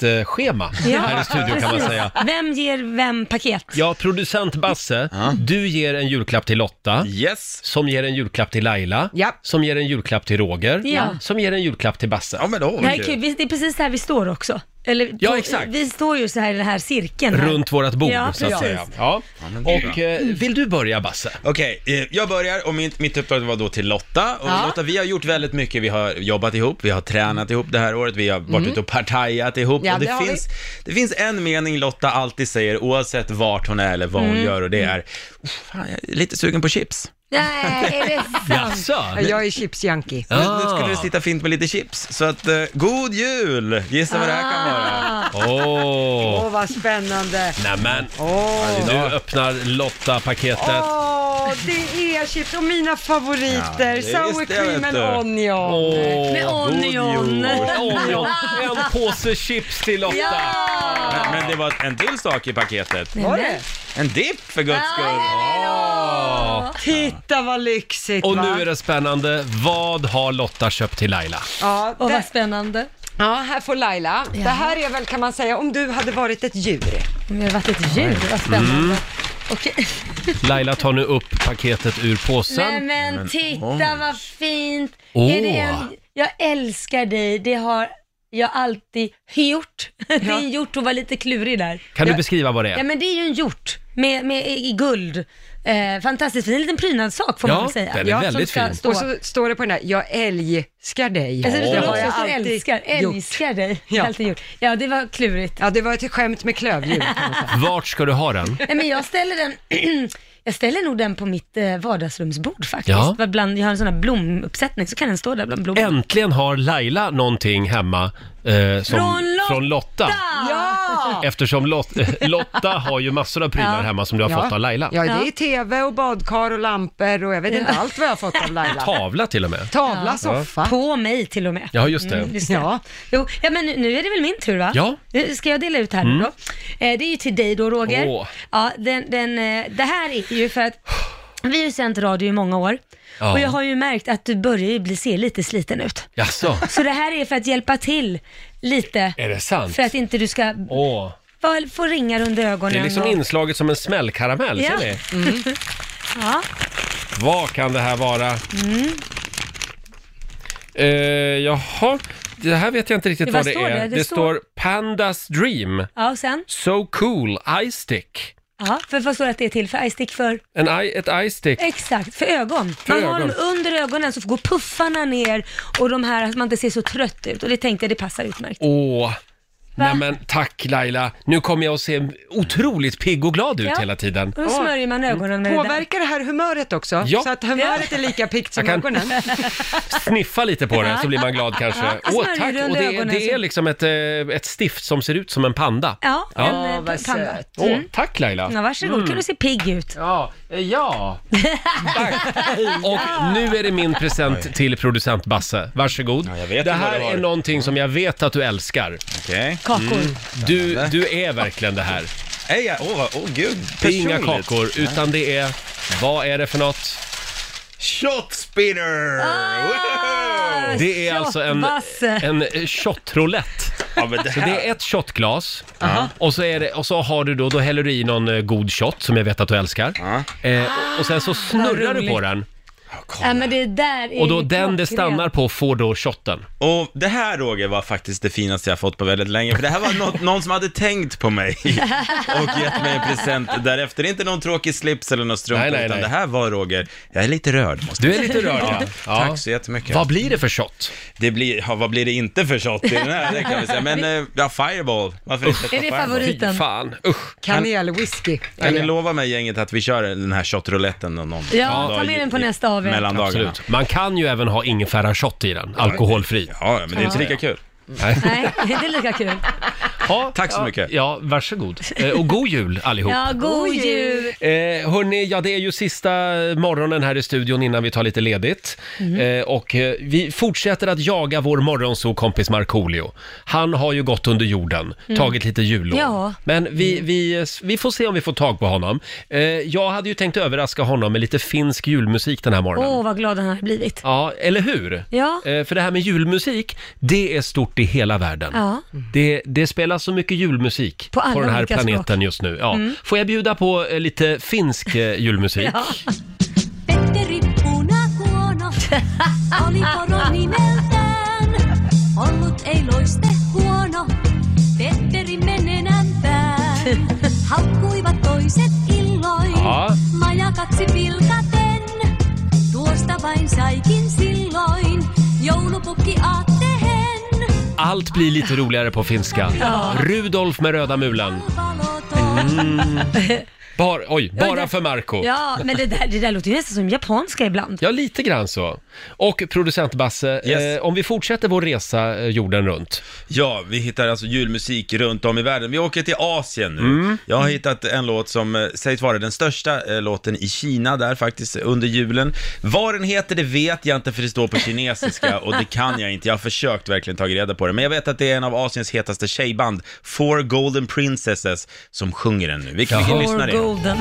Speaker 1: paketschema här i studion kan man
Speaker 5: precis.
Speaker 1: säga.
Speaker 5: Vem ger vem paket?
Speaker 1: Ja, producent Basse, du ger en julklapp till Lotta.
Speaker 8: Yes.
Speaker 1: Som ger en julklapp till Laila,
Speaker 2: Ja.
Speaker 1: som ger en julklapp till Roger,
Speaker 5: Ja.
Speaker 1: som ger en julklapp till Basse.
Speaker 8: Ja men då.
Speaker 5: Det här är kul, Vi- det är precis här vi står också. Eller,
Speaker 1: Ja,
Speaker 5: på-
Speaker 1: exakt.
Speaker 5: Vi står ju så här i den här cirkeln. Här.
Speaker 1: Runt vårt bord,
Speaker 5: Ja,
Speaker 1: så att
Speaker 5: precis.
Speaker 1: säga. Ja.
Speaker 8: men det är
Speaker 1: Och eh, vill du börja, Basse?
Speaker 8: Okej, eh, jag börjar och mitt, mitt uppdrag var då till Lotta. Och
Speaker 2: Ja.
Speaker 8: Lotta, vi har gjort väldigt mycket. Vi har jobbat ihop, vi har tränat ihop det här året, vi har varit ute och partajat ihop.
Speaker 2: Ja,
Speaker 8: och
Speaker 2: det
Speaker 8: det,
Speaker 2: har vi.
Speaker 8: finns, det finns en mening Lotta alltid säger, oavsett vart hon är eller vad hon gör, och det är "Oh, Fan, jag är lite sugen på chips.
Speaker 5: Nej, är det sant?
Speaker 1: Jaså?
Speaker 2: Jag är chipsjunkie.
Speaker 8: Nu,
Speaker 1: Ah.
Speaker 8: nu skulle det sitta fint med lite chips. Så att, eh, god jul! Gissa vad det här kan vara.
Speaker 1: Åh!
Speaker 2: Åh, vad spännande.
Speaker 1: Nämen!
Speaker 2: Åh,
Speaker 1: Nu öppnar Lotta paketet.
Speaker 2: Åh, det är chips och mina favoriter.
Speaker 8: Ja, just
Speaker 2: Sour
Speaker 8: det,
Speaker 2: cream
Speaker 8: vet
Speaker 2: and
Speaker 8: du.
Speaker 2: onion.
Speaker 1: Åh,
Speaker 5: Med onion.
Speaker 1: Onion. En påse chips till Lotta.
Speaker 8: Men, men det var en till sak i paketet.
Speaker 2: Var det?
Speaker 8: En dipp för guds skull.
Speaker 2: Titta vad lyxigt
Speaker 1: Och
Speaker 2: va?
Speaker 1: nu är det spännande. Vad har Lotta köpt till Laila?
Speaker 2: ja,
Speaker 5: Och
Speaker 2: det...
Speaker 5: vad spännande.
Speaker 2: ja, här får Laila. Det här är väl kan man säga om du hade varit ett djur.
Speaker 5: Men Det har varit ett djur, vad
Speaker 1: Mm.
Speaker 5: spännande. Okej.
Speaker 1: Laila tar nu upp paketet ur
Speaker 5: Nej
Speaker 1: påsen.
Speaker 5: men titta vad fint!
Speaker 1: Åh.
Speaker 5: Är det en... Jag älskar dig, det har jag alltid gjort. Det är en hjort, hon var lite klurig där.
Speaker 1: Kan du beskriva vad det
Speaker 5: Ja
Speaker 1: är?
Speaker 5: men det är ju en hjort med, med, i guld. Eh, fantastiskt fin, en liten prydnadssak får
Speaker 1: Ja,
Speaker 5: man väl säga.
Speaker 1: den är väldigt
Speaker 5: som ska
Speaker 1: fin.
Speaker 5: Stå.
Speaker 2: Och så står det på den där, jag älskar dig.
Speaker 5: Alltså, det står
Speaker 2: Det har
Speaker 5: också
Speaker 2: jag
Speaker 5: att jag
Speaker 2: alltid
Speaker 5: älskar,
Speaker 2: gjort.
Speaker 5: älskar dig.
Speaker 2: Ja.
Speaker 5: Ja. Alltid gjort. ja, det var klurigt.
Speaker 2: Ja, det var ett skämt med klövdjur. kan man säga.
Speaker 1: Vart ska du ha den?
Speaker 5: Nej, men jag ställer den, jag ställer nog den på mitt eh, vardagsrumsbord faktiskt.
Speaker 1: Ja.
Speaker 5: Vad Bland, jag har en sån här blomuppsättning, så kan den stå där bland blommorna.
Speaker 1: Äntligen har Laila någonting hemma eh, som,
Speaker 5: Från Lotta!
Speaker 1: från Lotta.
Speaker 2: Ja!
Speaker 1: Eftersom Lot, Lotta har ju massor av prylar
Speaker 5: Ja.
Speaker 1: hemma som du har fått av Laila.
Speaker 2: Ja, det
Speaker 5: Ja.
Speaker 2: är tv och badkar och lampor och jag vet inte allt vad jag har fått av Laila.
Speaker 1: Tavla till och med.
Speaker 2: Tavla, soffa.
Speaker 5: På mig till och med. Mm,
Speaker 1: Ja, just det.
Speaker 5: just
Speaker 2: Ja.
Speaker 5: Jo, ja, men nu- nu är det väl min tur va?
Speaker 1: Ja. Mm.
Speaker 5: Nu Ska jag dela ut här nu då? Eh, det är ju till dig då Roger.
Speaker 1: Åh.
Speaker 5: Ja, den, den, eh, det här är ju för att vi har ju sänt radio i många år
Speaker 1: Ja.
Speaker 5: och jag har ju märkt att du börjar ju bli, se lite sliten ut.
Speaker 1: Jaså,
Speaker 5: Så det här är för att hjälpa till lite.
Speaker 1: är det sant?
Speaker 5: För att inte du ska
Speaker 1: Åh,
Speaker 5: få- få ringar under ögonen.
Speaker 1: det är liksom
Speaker 5: och-
Speaker 1: inslaget som en smällkaramell,
Speaker 5: Ja. Mm.
Speaker 1: ser ni?
Speaker 5: ja. Mm.
Speaker 1: Vad kan det här vara? Eh, jaha, det här vet jag inte riktigt
Speaker 5: Ja,
Speaker 1: vad
Speaker 5: vad
Speaker 1: det
Speaker 5: står
Speaker 1: är.
Speaker 5: det?
Speaker 1: Det,
Speaker 5: Det
Speaker 1: står...
Speaker 5: står-
Speaker 1: Pandas Dream,
Speaker 5: ja, och sen?
Speaker 1: So Cool, Eye Stick.
Speaker 5: Ja, för vad står det att det är till för? Eye stick för?
Speaker 1: En eye, ett eye stick.
Speaker 5: Exakt, för ögon.
Speaker 1: För
Speaker 5: man har
Speaker 1: ögon.
Speaker 5: dem under ögonen så går puffarna ner och de här att man inte ser så trött ut. Och det tänkte jag, det passar utmärkt.
Speaker 1: Åh, nej men tack Laila. Nu kommer jag att se otroligt pigg och glad ut
Speaker 5: Ja.
Speaker 1: hela tiden.
Speaker 5: Och då smörjer man ögonen med det där.
Speaker 2: Påverkar det här humöret också?
Speaker 1: Ja.
Speaker 2: Så att humöret är lika piggt som
Speaker 1: Jag kan-
Speaker 2: ögonen?
Speaker 1: Sniffa lite på den så blir man glad kanske.
Speaker 5: Ja, alltså,
Speaker 1: Åh
Speaker 5: smörjer
Speaker 1: tack,
Speaker 5: du under
Speaker 1: och det,
Speaker 5: ögonen
Speaker 1: det är
Speaker 5: så-
Speaker 1: liksom ett, eh, ett stift som ser ut som en panda.
Speaker 5: Ja,
Speaker 1: Ja. Mm.
Speaker 5: en
Speaker 2: Åh,
Speaker 5: eh,
Speaker 2: vad
Speaker 5: panda.
Speaker 2: söt.
Speaker 1: Åh, tack Laila.
Speaker 5: Ja, varsågod, kan du se pigg ut.
Speaker 1: Ja, eh, ja. Tack. Och nu är det min present till producent Basse. Varsågod.
Speaker 8: Ja, jag vet
Speaker 1: det
Speaker 8: ju vad
Speaker 1: här
Speaker 8: det var.
Speaker 1: är någonting som jag vet att du älskar.
Speaker 8: Okej.
Speaker 5: Kakor.
Speaker 1: Mm. Du, du är verkligen det här.
Speaker 8: Hej, ja. Åh, vad- åh gud.
Speaker 1: Det är inga
Speaker 8: Personligt.
Speaker 1: kakor, utan det är... Vad är det för något?
Speaker 8: Shot spinner!
Speaker 5: Ah!
Speaker 8: Wow!
Speaker 1: Det är
Speaker 5: Shot,
Speaker 1: alltså en,
Speaker 5: Basse.
Speaker 1: en eh, shotroulette.
Speaker 8: Ja, men det
Speaker 1: Så det
Speaker 8: här...
Speaker 1: är ett shotglas och, så är det, och så har du då, då häller du i någon eh, god shot som jag vet att du älskar. Eh, och sen så snurrar du på den.
Speaker 5: Nej, men det där är
Speaker 1: Och då
Speaker 5: ju
Speaker 1: den det
Speaker 5: klockrent.
Speaker 1: stannar på får då shotten.
Speaker 8: Och det här Roger var faktiskt det finaste jag fått på väldigt länge, för det här var något, någon som hade tänkt på mig och gett mig en present därefter. Det är inte någon tråkig slips eller någon strumpa,
Speaker 1: Nej, nej,
Speaker 8: utan
Speaker 1: nej.
Speaker 8: det här var Roger, jag är lite rörd. Måste
Speaker 1: Du
Speaker 8: jag
Speaker 1: är lite
Speaker 8: säga.
Speaker 1: rörd ja. ja.
Speaker 8: Tack så jättemycket.
Speaker 1: Vad blir det för shot?
Speaker 8: Det blir, ja, vad blir det inte för shot i den här? Det kan vi säga. Men eh, ja, Fireball, varför inte? ta
Speaker 5: Är det
Speaker 8: Fireball?
Speaker 1: Fy
Speaker 5: favoriten?
Speaker 1: fan, usch.
Speaker 2: Kanel, whisky.
Speaker 8: Kan ni
Speaker 2: Eller-
Speaker 8: lova mig gänget att vi kör den här shottrouletten någon någon
Speaker 5: Ja,
Speaker 8: dag
Speaker 5: ta med
Speaker 8: i-
Speaker 5: den på
Speaker 8: i-
Speaker 5: nästa AW.
Speaker 8: Mellan dagarna.
Speaker 1: Absolut. Man kan ju även ha ingefära-shot i den, alkoholfri.
Speaker 8: Ja, men det är inte lika kul.
Speaker 5: Nej, det är lika kul.
Speaker 1: Ja,
Speaker 8: Tack så mycket.
Speaker 1: Ja, varsågod. Eh, Och god jul allihop.
Speaker 5: Ja, god jul!
Speaker 1: Eh, hörni, ja det är ju sista morgonen här i studion innan vi tar lite ledigt. Eh, och eh, vi fortsätter att jaga vår morgonsokompis Markoolio. Han har ju gått under jorden, tagit lite jullov.
Speaker 5: Ja.
Speaker 1: Men vi, vi, vi får se om vi får tag på honom. Eh, jag hade ju tänkt överraska honom med lite finsk julmusik den här morgonen.
Speaker 5: Åh, vad glad han har blivit.
Speaker 1: Ja, eller hur?
Speaker 5: Ja.
Speaker 1: Eh, För det här med julmusik, det är stort i hela världen.
Speaker 5: Ja.
Speaker 1: Det, det spelas så mycket julmusik
Speaker 5: På alla
Speaker 1: den här
Speaker 5: olika
Speaker 1: planeten
Speaker 5: språk. Mm.
Speaker 1: just nu. Ja. Får jag bjuda på eh, lite finsk eh, julmusik?
Speaker 5: Ja.
Speaker 10: Petteri punakuono oli poro nimeltään. Ollut ei loiste huono, Petteri menenämpään. Haukkuivat toiset illoin,
Speaker 1: Aha.
Speaker 10: majakaksi pilkaten. Tuosta vain saikin silloin, joulupukki aattehen.
Speaker 1: Allt blir lite roligare på finska. Rudolf med röda mulen.
Speaker 10: Valotoo.
Speaker 1: Bar, oj, bara
Speaker 5: det-
Speaker 1: för Marco.
Speaker 5: Ja, men det där, det där låter ju nästan som japanska ibland.
Speaker 1: Ja, lite grann så. Och producent Basse,
Speaker 8: Yes.
Speaker 1: eh, om vi fortsätter vår resa eh, jorden runt.
Speaker 8: Ja, vi hittar alltså julmusik runt om i världen. Vi åker till Asien nu.
Speaker 1: Mm.
Speaker 8: Jag har hittat en låt som eh, sägs vara den största eh, låten i Kina där faktiskt eh, under julen. Vad den heter det vet jag inte för det står på kinesiska och det kan jag inte. Jag har försökt verkligen ta reda på det. Men jag vet att det är en av Asiens hetaste tjejband, Four Golden Princesses, som sjunger den nu. Vilken, vilken lyssnare
Speaker 5: Or
Speaker 8: är det?
Speaker 5: golden.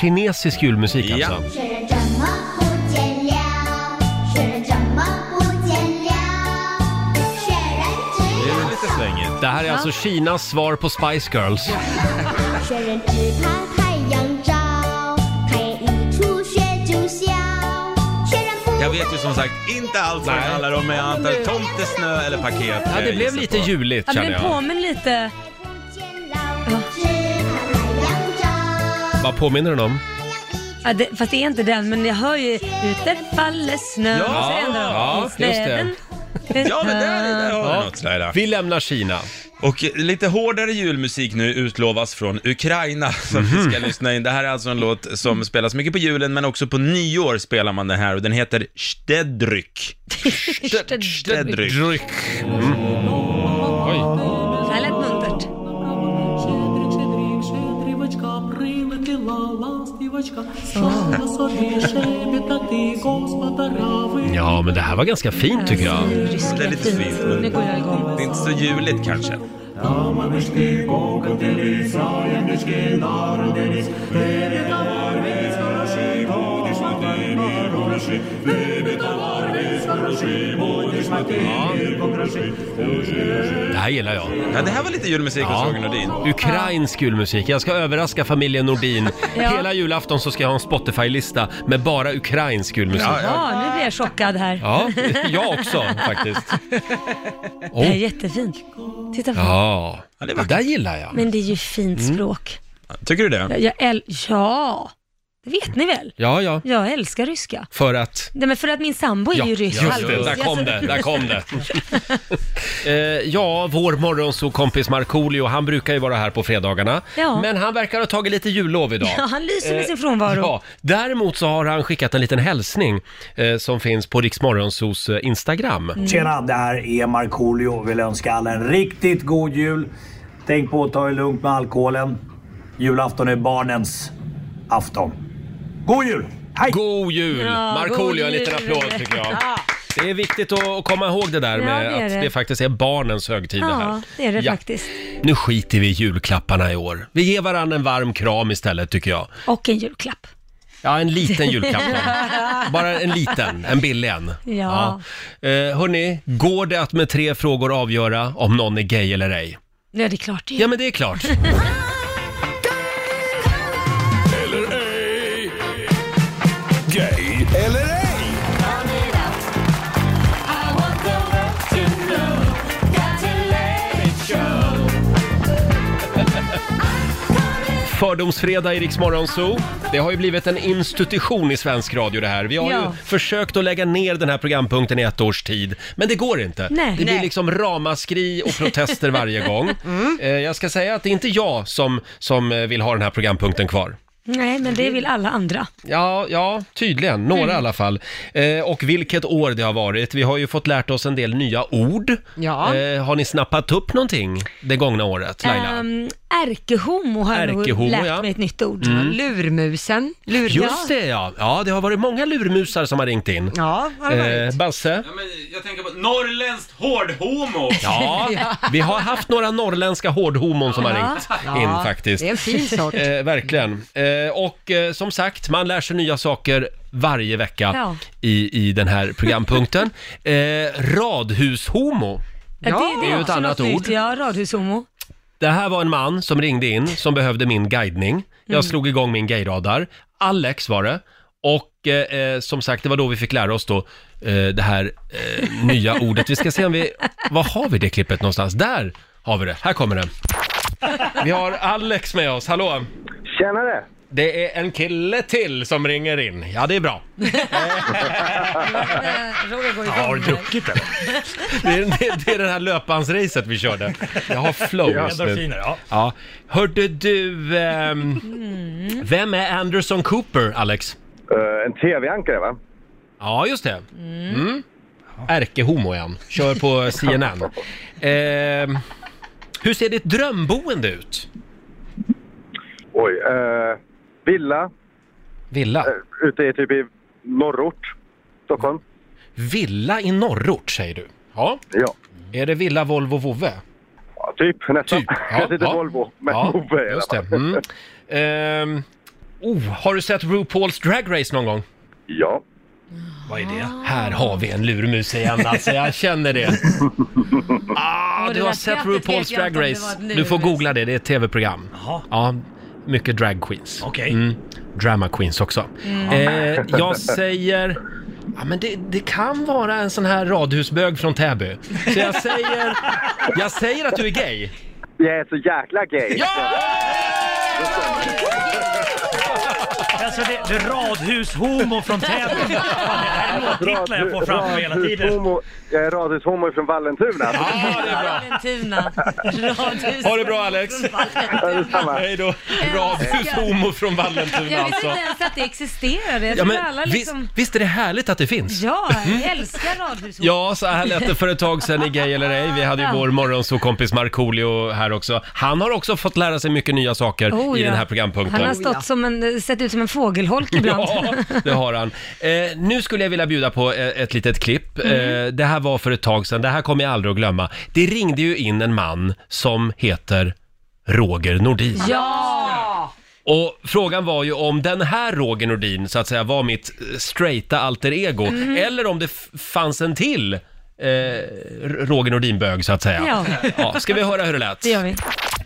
Speaker 1: Kinesisk julmusik
Speaker 8: Ja.
Speaker 1: alltså.
Speaker 10: 是怎么不见了？是怎么不见了？雪人
Speaker 8: Det
Speaker 10: 只
Speaker 8: är väl lite svängigt.
Speaker 1: Det här är alltså Kinas svar på Spice Girls.
Speaker 10: 雪人只怕太阳照，太阳一出雪就消。雪人不
Speaker 8: Jag vet ju som sagt inte allt vad det
Speaker 1: Nej.
Speaker 8: handlar om, men jag antar tomtesnö eller paket.
Speaker 1: Ja, det
Speaker 8: jag
Speaker 1: blev
Speaker 8: gissar
Speaker 1: lite
Speaker 8: på.
Speaker 1: juligt
Speaker 5: Ja, men
Speaker 1: känner
Speaker 5: den
Speaker 1: jag.
Speaker 5: påminner lite...
Speaker 10: 不见老，只怕太阳照。
Speaker 1: Vad påminner den om?
Speaker 5: Ja, det, fast det är inte den, men jag hör ju ute faller snö.
Speaker 8: Ja,
Speaker 5: Och så ändrar de.
Speaker 1: ja,
Speaker 5: I
Speaker 1: just det.
Speaker 5: släden.
Speaker 8: Ja, men där, där har
Speaker 1: Ja.
Speaker 8: du något Laila.
Speaker 1: Vi lämnar Kina.
Speaker 8: Och lite hårdare julmusik nu utlovas från Ukraina som vi ska lyssna in. Det här är alltså en låt som spelas mycket på julen men också på nyår spelar man den här och den heter Stedryk. Stedryk.
Speaker 1: Dryck. Oj.
Speaker 5: Det här lät muntert.
Speaker 1: Ja, men det här var ganska fint tycker jag.
Speaker 5: Ryska
Speaker 8: Det är lite
Speaker 5: fint.
Speaker 8: fint, men-
Speaker 5: Nu går jag igång.
Speaker 8: Det är inte så juligt kanske.
Speaker 1: Det här gillar jag.
Speaker 8: Ja, det här var lite julmusik hos
Speaker 1: Ja.
Speaker 8: Roger Nordin.
Speaker 1: Ukrainsk julmusik. Jag ska överraska familjen Nordin. Hela julafton så ska jag ha en Spotify-lista med bara ukrainsk julmusik.
Speaker 8: Ja, ja.
Speaker 5: Ja, nu blir jag chockad här.
Speaker 1: Ja, jag också faktiskt.
Speaker 5: Det här är
Speaker 1: Oh.
Speaker 5: jättefint. Titta på
Speaker 1: Ja, Mm.
Speaker 8: Ja, det
Speaker 1: det
Speaker 8: är vackert.
Speaker 1: där gillar jag.
Speaker 5: Men det är ju fint språk.
Speaker 8: Tycker du det?
Speaker 5: Jag, jag äl... Ja, det vet ni väl?
Speaker 1: Ja, ja.
Speaker 5: Jag älskar ryska.
Speaker 1: För att...
Speaker 5: Nej, men för att min sambo är
Speaker 1: Ja,
Speaker 5: ju rysk.
Speaker 1: just det. Där
Speaker 5: Alltså,
Speaker 1: kom det, där kom det. Eh, ja, vår morgonsåkompis Markoolio, han brukar ju vara här på fredagarna.
Speaker 5: Ja.
Speaker 1: Men han verkar ha tagit lite jullov idag.
Speaker 5: Ja, han lyser med sin frånvaro.
Speaker 1: Eh, Ja, däremot så har han skickat en liten hälsning eh, som finns på Riksmorgonsos Instagram.
Speaker 5: Mm.
Speaker 11: Tjena, det här är Markoolio. Vill önska alla en riktigt god jul. Tänk på att ta det lugnt med alkoholen. Julafton är barnens afton. God jul! Hej!
Speaker 1: God jul!
Speaker 5: Ja,
Speaker 1: Markoolio,
Speaker 5: god
Speaker 1: en liten
Speaker 5: jul.
Speaker 1: applåd tycker jag. Det är viktigt att att komma ihåg det där
Speaker 5: Ja,
Speaker 1: med
Speaker 5: det är
Speaker 1: att
Speaker 5: det.
Speaker 1: det faktiskt är barnens högtid det här.
Speaker 5: Ja, det är det
Speaker 1: Ja.
Speaker 5: faktiskt.
Speaker 1: Nu skiter vi i julklapparna i år. Vi ger varandra en varm kram istället tycker jag.
Speaker 5: Och en julklapp.
Speaker 1: Ja, en liten julklapp. då. Bara en liten, en billig en.
Speaker 5: Ja.
Speaker 1: Ja. Eh, hörni, går det att med tre frågor avgöra om någon är gay eller ej?
Speaker 5: Ja, det är klart det är.
Speaker 1: Ja, men det är klart.
Speaker 3: Eller ej. Eller ej?
Speaker 1: Fördomsfredag i Rix Morgon Zoo. Det har ju blivit en institution i svensk radio det här. Vi har ju
Speaker 5: Ja.
Speaker 1: försökt att lägga ner den här programpunkten i ett års tid, men det går inte.
Speaker 5: Nej.
Speaker 1: Det blir
Speaker 5: Nej. Mm.
Speaker 1: liksom ramaskri och protester varje gång. Eh, Jag ska säga att det är inte jag som, som eh, vill ha den här programpunkten kvar.
Speaker 5: Nej, men det vill alla andra.
Speaker 1: Ja, ja tydligen. Några
Speaker 5: Mm.
Speaker 1: i alla fall. Eh, och vilket år det har varit. Vi har ju fått lärt oss en del nya ord.
Speaker 5: Ja.
Speaker 1: Eh, har ni snappat upp någonting det gångna året, Laila?
Speaker 5: Um, ärkehomo har jag
Speaker 1: Ärkehomo,
Speaker 5: nog lärt
Speaker 1: ja.
Speaker 5: mig ett nytt ord.
Speaker 1: Mm.
Speaker 5: Lurmusen.
Speaker 1: Just det ja. ja, det har varit många lurmusar som har ringt in.
Speaker 2: Ja,
Speaker 8: har det
Speaker 1: Eh,
Speaker 8: varit.
Speaker 1: Basse?
Speaker 8: Jag tänker på norrländskt hårdhomo!
Speaker 1: Ja, vi har haft några norrländska hårdhomon som har
Speaker 8: Ja.
Speaker 1: ringt
Speaker 8: Ja,
Speaker 1: in faktiskt.
Speaker 8: det är en fin sort.
Speaker 1: Eh, verkligen. Eh, och eh, som sagt, man lär sig nya saker varje vecka
Speaker 5: Ja.
Speaker 1: i, i den här programpunkten. Eh, radhushomo.
Speaker 5: Ja, det,
Speaker 1: är ju ett
Speaker 5: också
Speaker 1: annat
Speaker 5: något nytt.
Speaker 1: ord.
Speaker 5: Ja, radhushomo.
Speaker 1: Det här var en man som ringde in som behövde min guidning. Jag
Speaker 5: Mm.
Speaker 1: slog igång min gayradar. Alex var det. Och eh, eh, som sagt, det var då vi fick lära oss då eh, det här eh, nya ordet. Vi ska se om vi... Var har vi det klippet någonstans? Där har vi det. Här kommer det. Vi har Alex med oss. Hallå!
Speaker 12: Tjenare!
Speaker 1: Det är en kille till som ringer in. Ja, det är bra.
Speaker 5: Roger går
Speaker 1: Jag har
Speaker 5: igång.
Speaker 1: du druckit eller? det, är, det, det är det här löpbandsracet vi körde. Jag har flow
Speaker 13: Ja,
Speaker 1: just nu.
Speaker 13: endorfiner, ja.
Speaker 1: ja. Hörde du, ehm,
Speaker 13: Mm.
Speaker 1: vem är Anderson Cooper, Alex?
Speaker 12: Eh, en tv-ankare va?
Speaker 1: Ja, just det. Mm. Ärkehomo är han. Kör på CNN. Ehm, hur ser ditt drömboende ut?
Speaker 12: Oj, eh, villa.
Speaker 1: Villa?
Speaker 12: Uh, ute i typ i norrort, Stockholm.
Speaker 1: Villa i norrort, säger du? Ja.
Speaker 12: ja.
Speaker 1: Är det villa Volvo Vove?
Speaker 12: Ja, typ nästan.
Speaker 1: Ja,
Speaker 12: jag sitter
Speaker 1: ja.
Speaker 12: Volvo, men
Speaker 1: Ja,
Speaker 12: Ove är
Speaker 1: just
Speaker 12: det.
Speaker 1: det. Mm. Ehm, oh, har du sett RuPaul's Drag Race någon gång?
Speaker 12: Ja.
Speaker 1: Vad är det? Här har vi en lurmus igen alltså, jag känner det. Ah,
Speaker 7: Och
Speaker 1: du
Speaker 7: det
Speaker 1: har
Speaker 7: där
Speaker 1: sett
Speaker 7: skrattet vet jag
Speaker 1: RuPaul's
Speaker 7: inte om
Speaker 1: Drag
Speaker 7: det
Speaker 1: Race.
Speaker 7: var en
Speaker 1: Du får
Speaker 7: lurmus.
Speaker 1: googla det, det är ett tv-program. Ja, mycket drag queens.
Speaker 7: Okej.
Speaker 1: Mm. Drama queens också.
Speaker 7: Mm.
Speaker 1: Eh, jag säger... Ja, men det, det kan vara en sån här radhusbög från Täby. Så jag säger, jag säger att du är gay.
Speaker 12: Jag är så jäkla gay.
Speaker 13: Alltså det, det är radhushomo från Täby. Fan, det här är låttitlar jag får framför mig hela tiden.
Speaker 12: Radhushomo- Jag är radhushomo eh, från Vallentuna.
Speaker 1: Ja, det är bra.
Speaker 5: Vallentuna. Radhus.
Speaker 1: Ha det bra Alex! Hej då! Radhushomo från Vallentuna
Speaker 5: Jag visste
Speaker 1: alltså.
Speaker 5: inte ens att det existerade. Jag
Speaker 1: Ja,
Speaker 5: trodde
Speaker 1: men
Speaker 5: alla
Speaker 1: visst,
Speaker 5: liksom...
Speaker 1: visst är det härligt att det finns?
Speaker 5: Ja, jag älskar radhushomo.
Speaker 1: Mhm. Ja, så här lät det för ett tag sedan i Gay eller ej. Vi hade ju
Speaker 5: Ja.
Speaker 1: vår morgonsåkompis Markoolio här också. Han har också fått lära sig mycket nya saker
Speaker 5: Oh,
Speaker 1: i
Speaker 5: ja.
Speaker 1: den här programpunkten.
Speaker 5: Han har stått som en, sett ut som en fågelholk ibland.
Speaker 1: Ja, det har han. Eh, nu skulle jag vilja bjuda på eh, ett litet klipp. Eh,
Speaker 5: Mm.
Speaker 1: det här var för ett tag sedan, det här kommer jag aldrig att glömma. Det ringde ju in en man som heter Roger Nordin.
Speaker 5: Ja!
Speaker 1: Och frågan var ju om den här Roger Nordin så att säga var mitt eh, straighta alter ego
Speaker 7: Mm.
Speaker 1: eller om det f- fanns en till eh, R- Roger Nordin-bög så att säga.
Speaker 7: Ja.
Speaker 1: Ja, ska vi höra hur det lät?
Speaker 7: Det gör vi.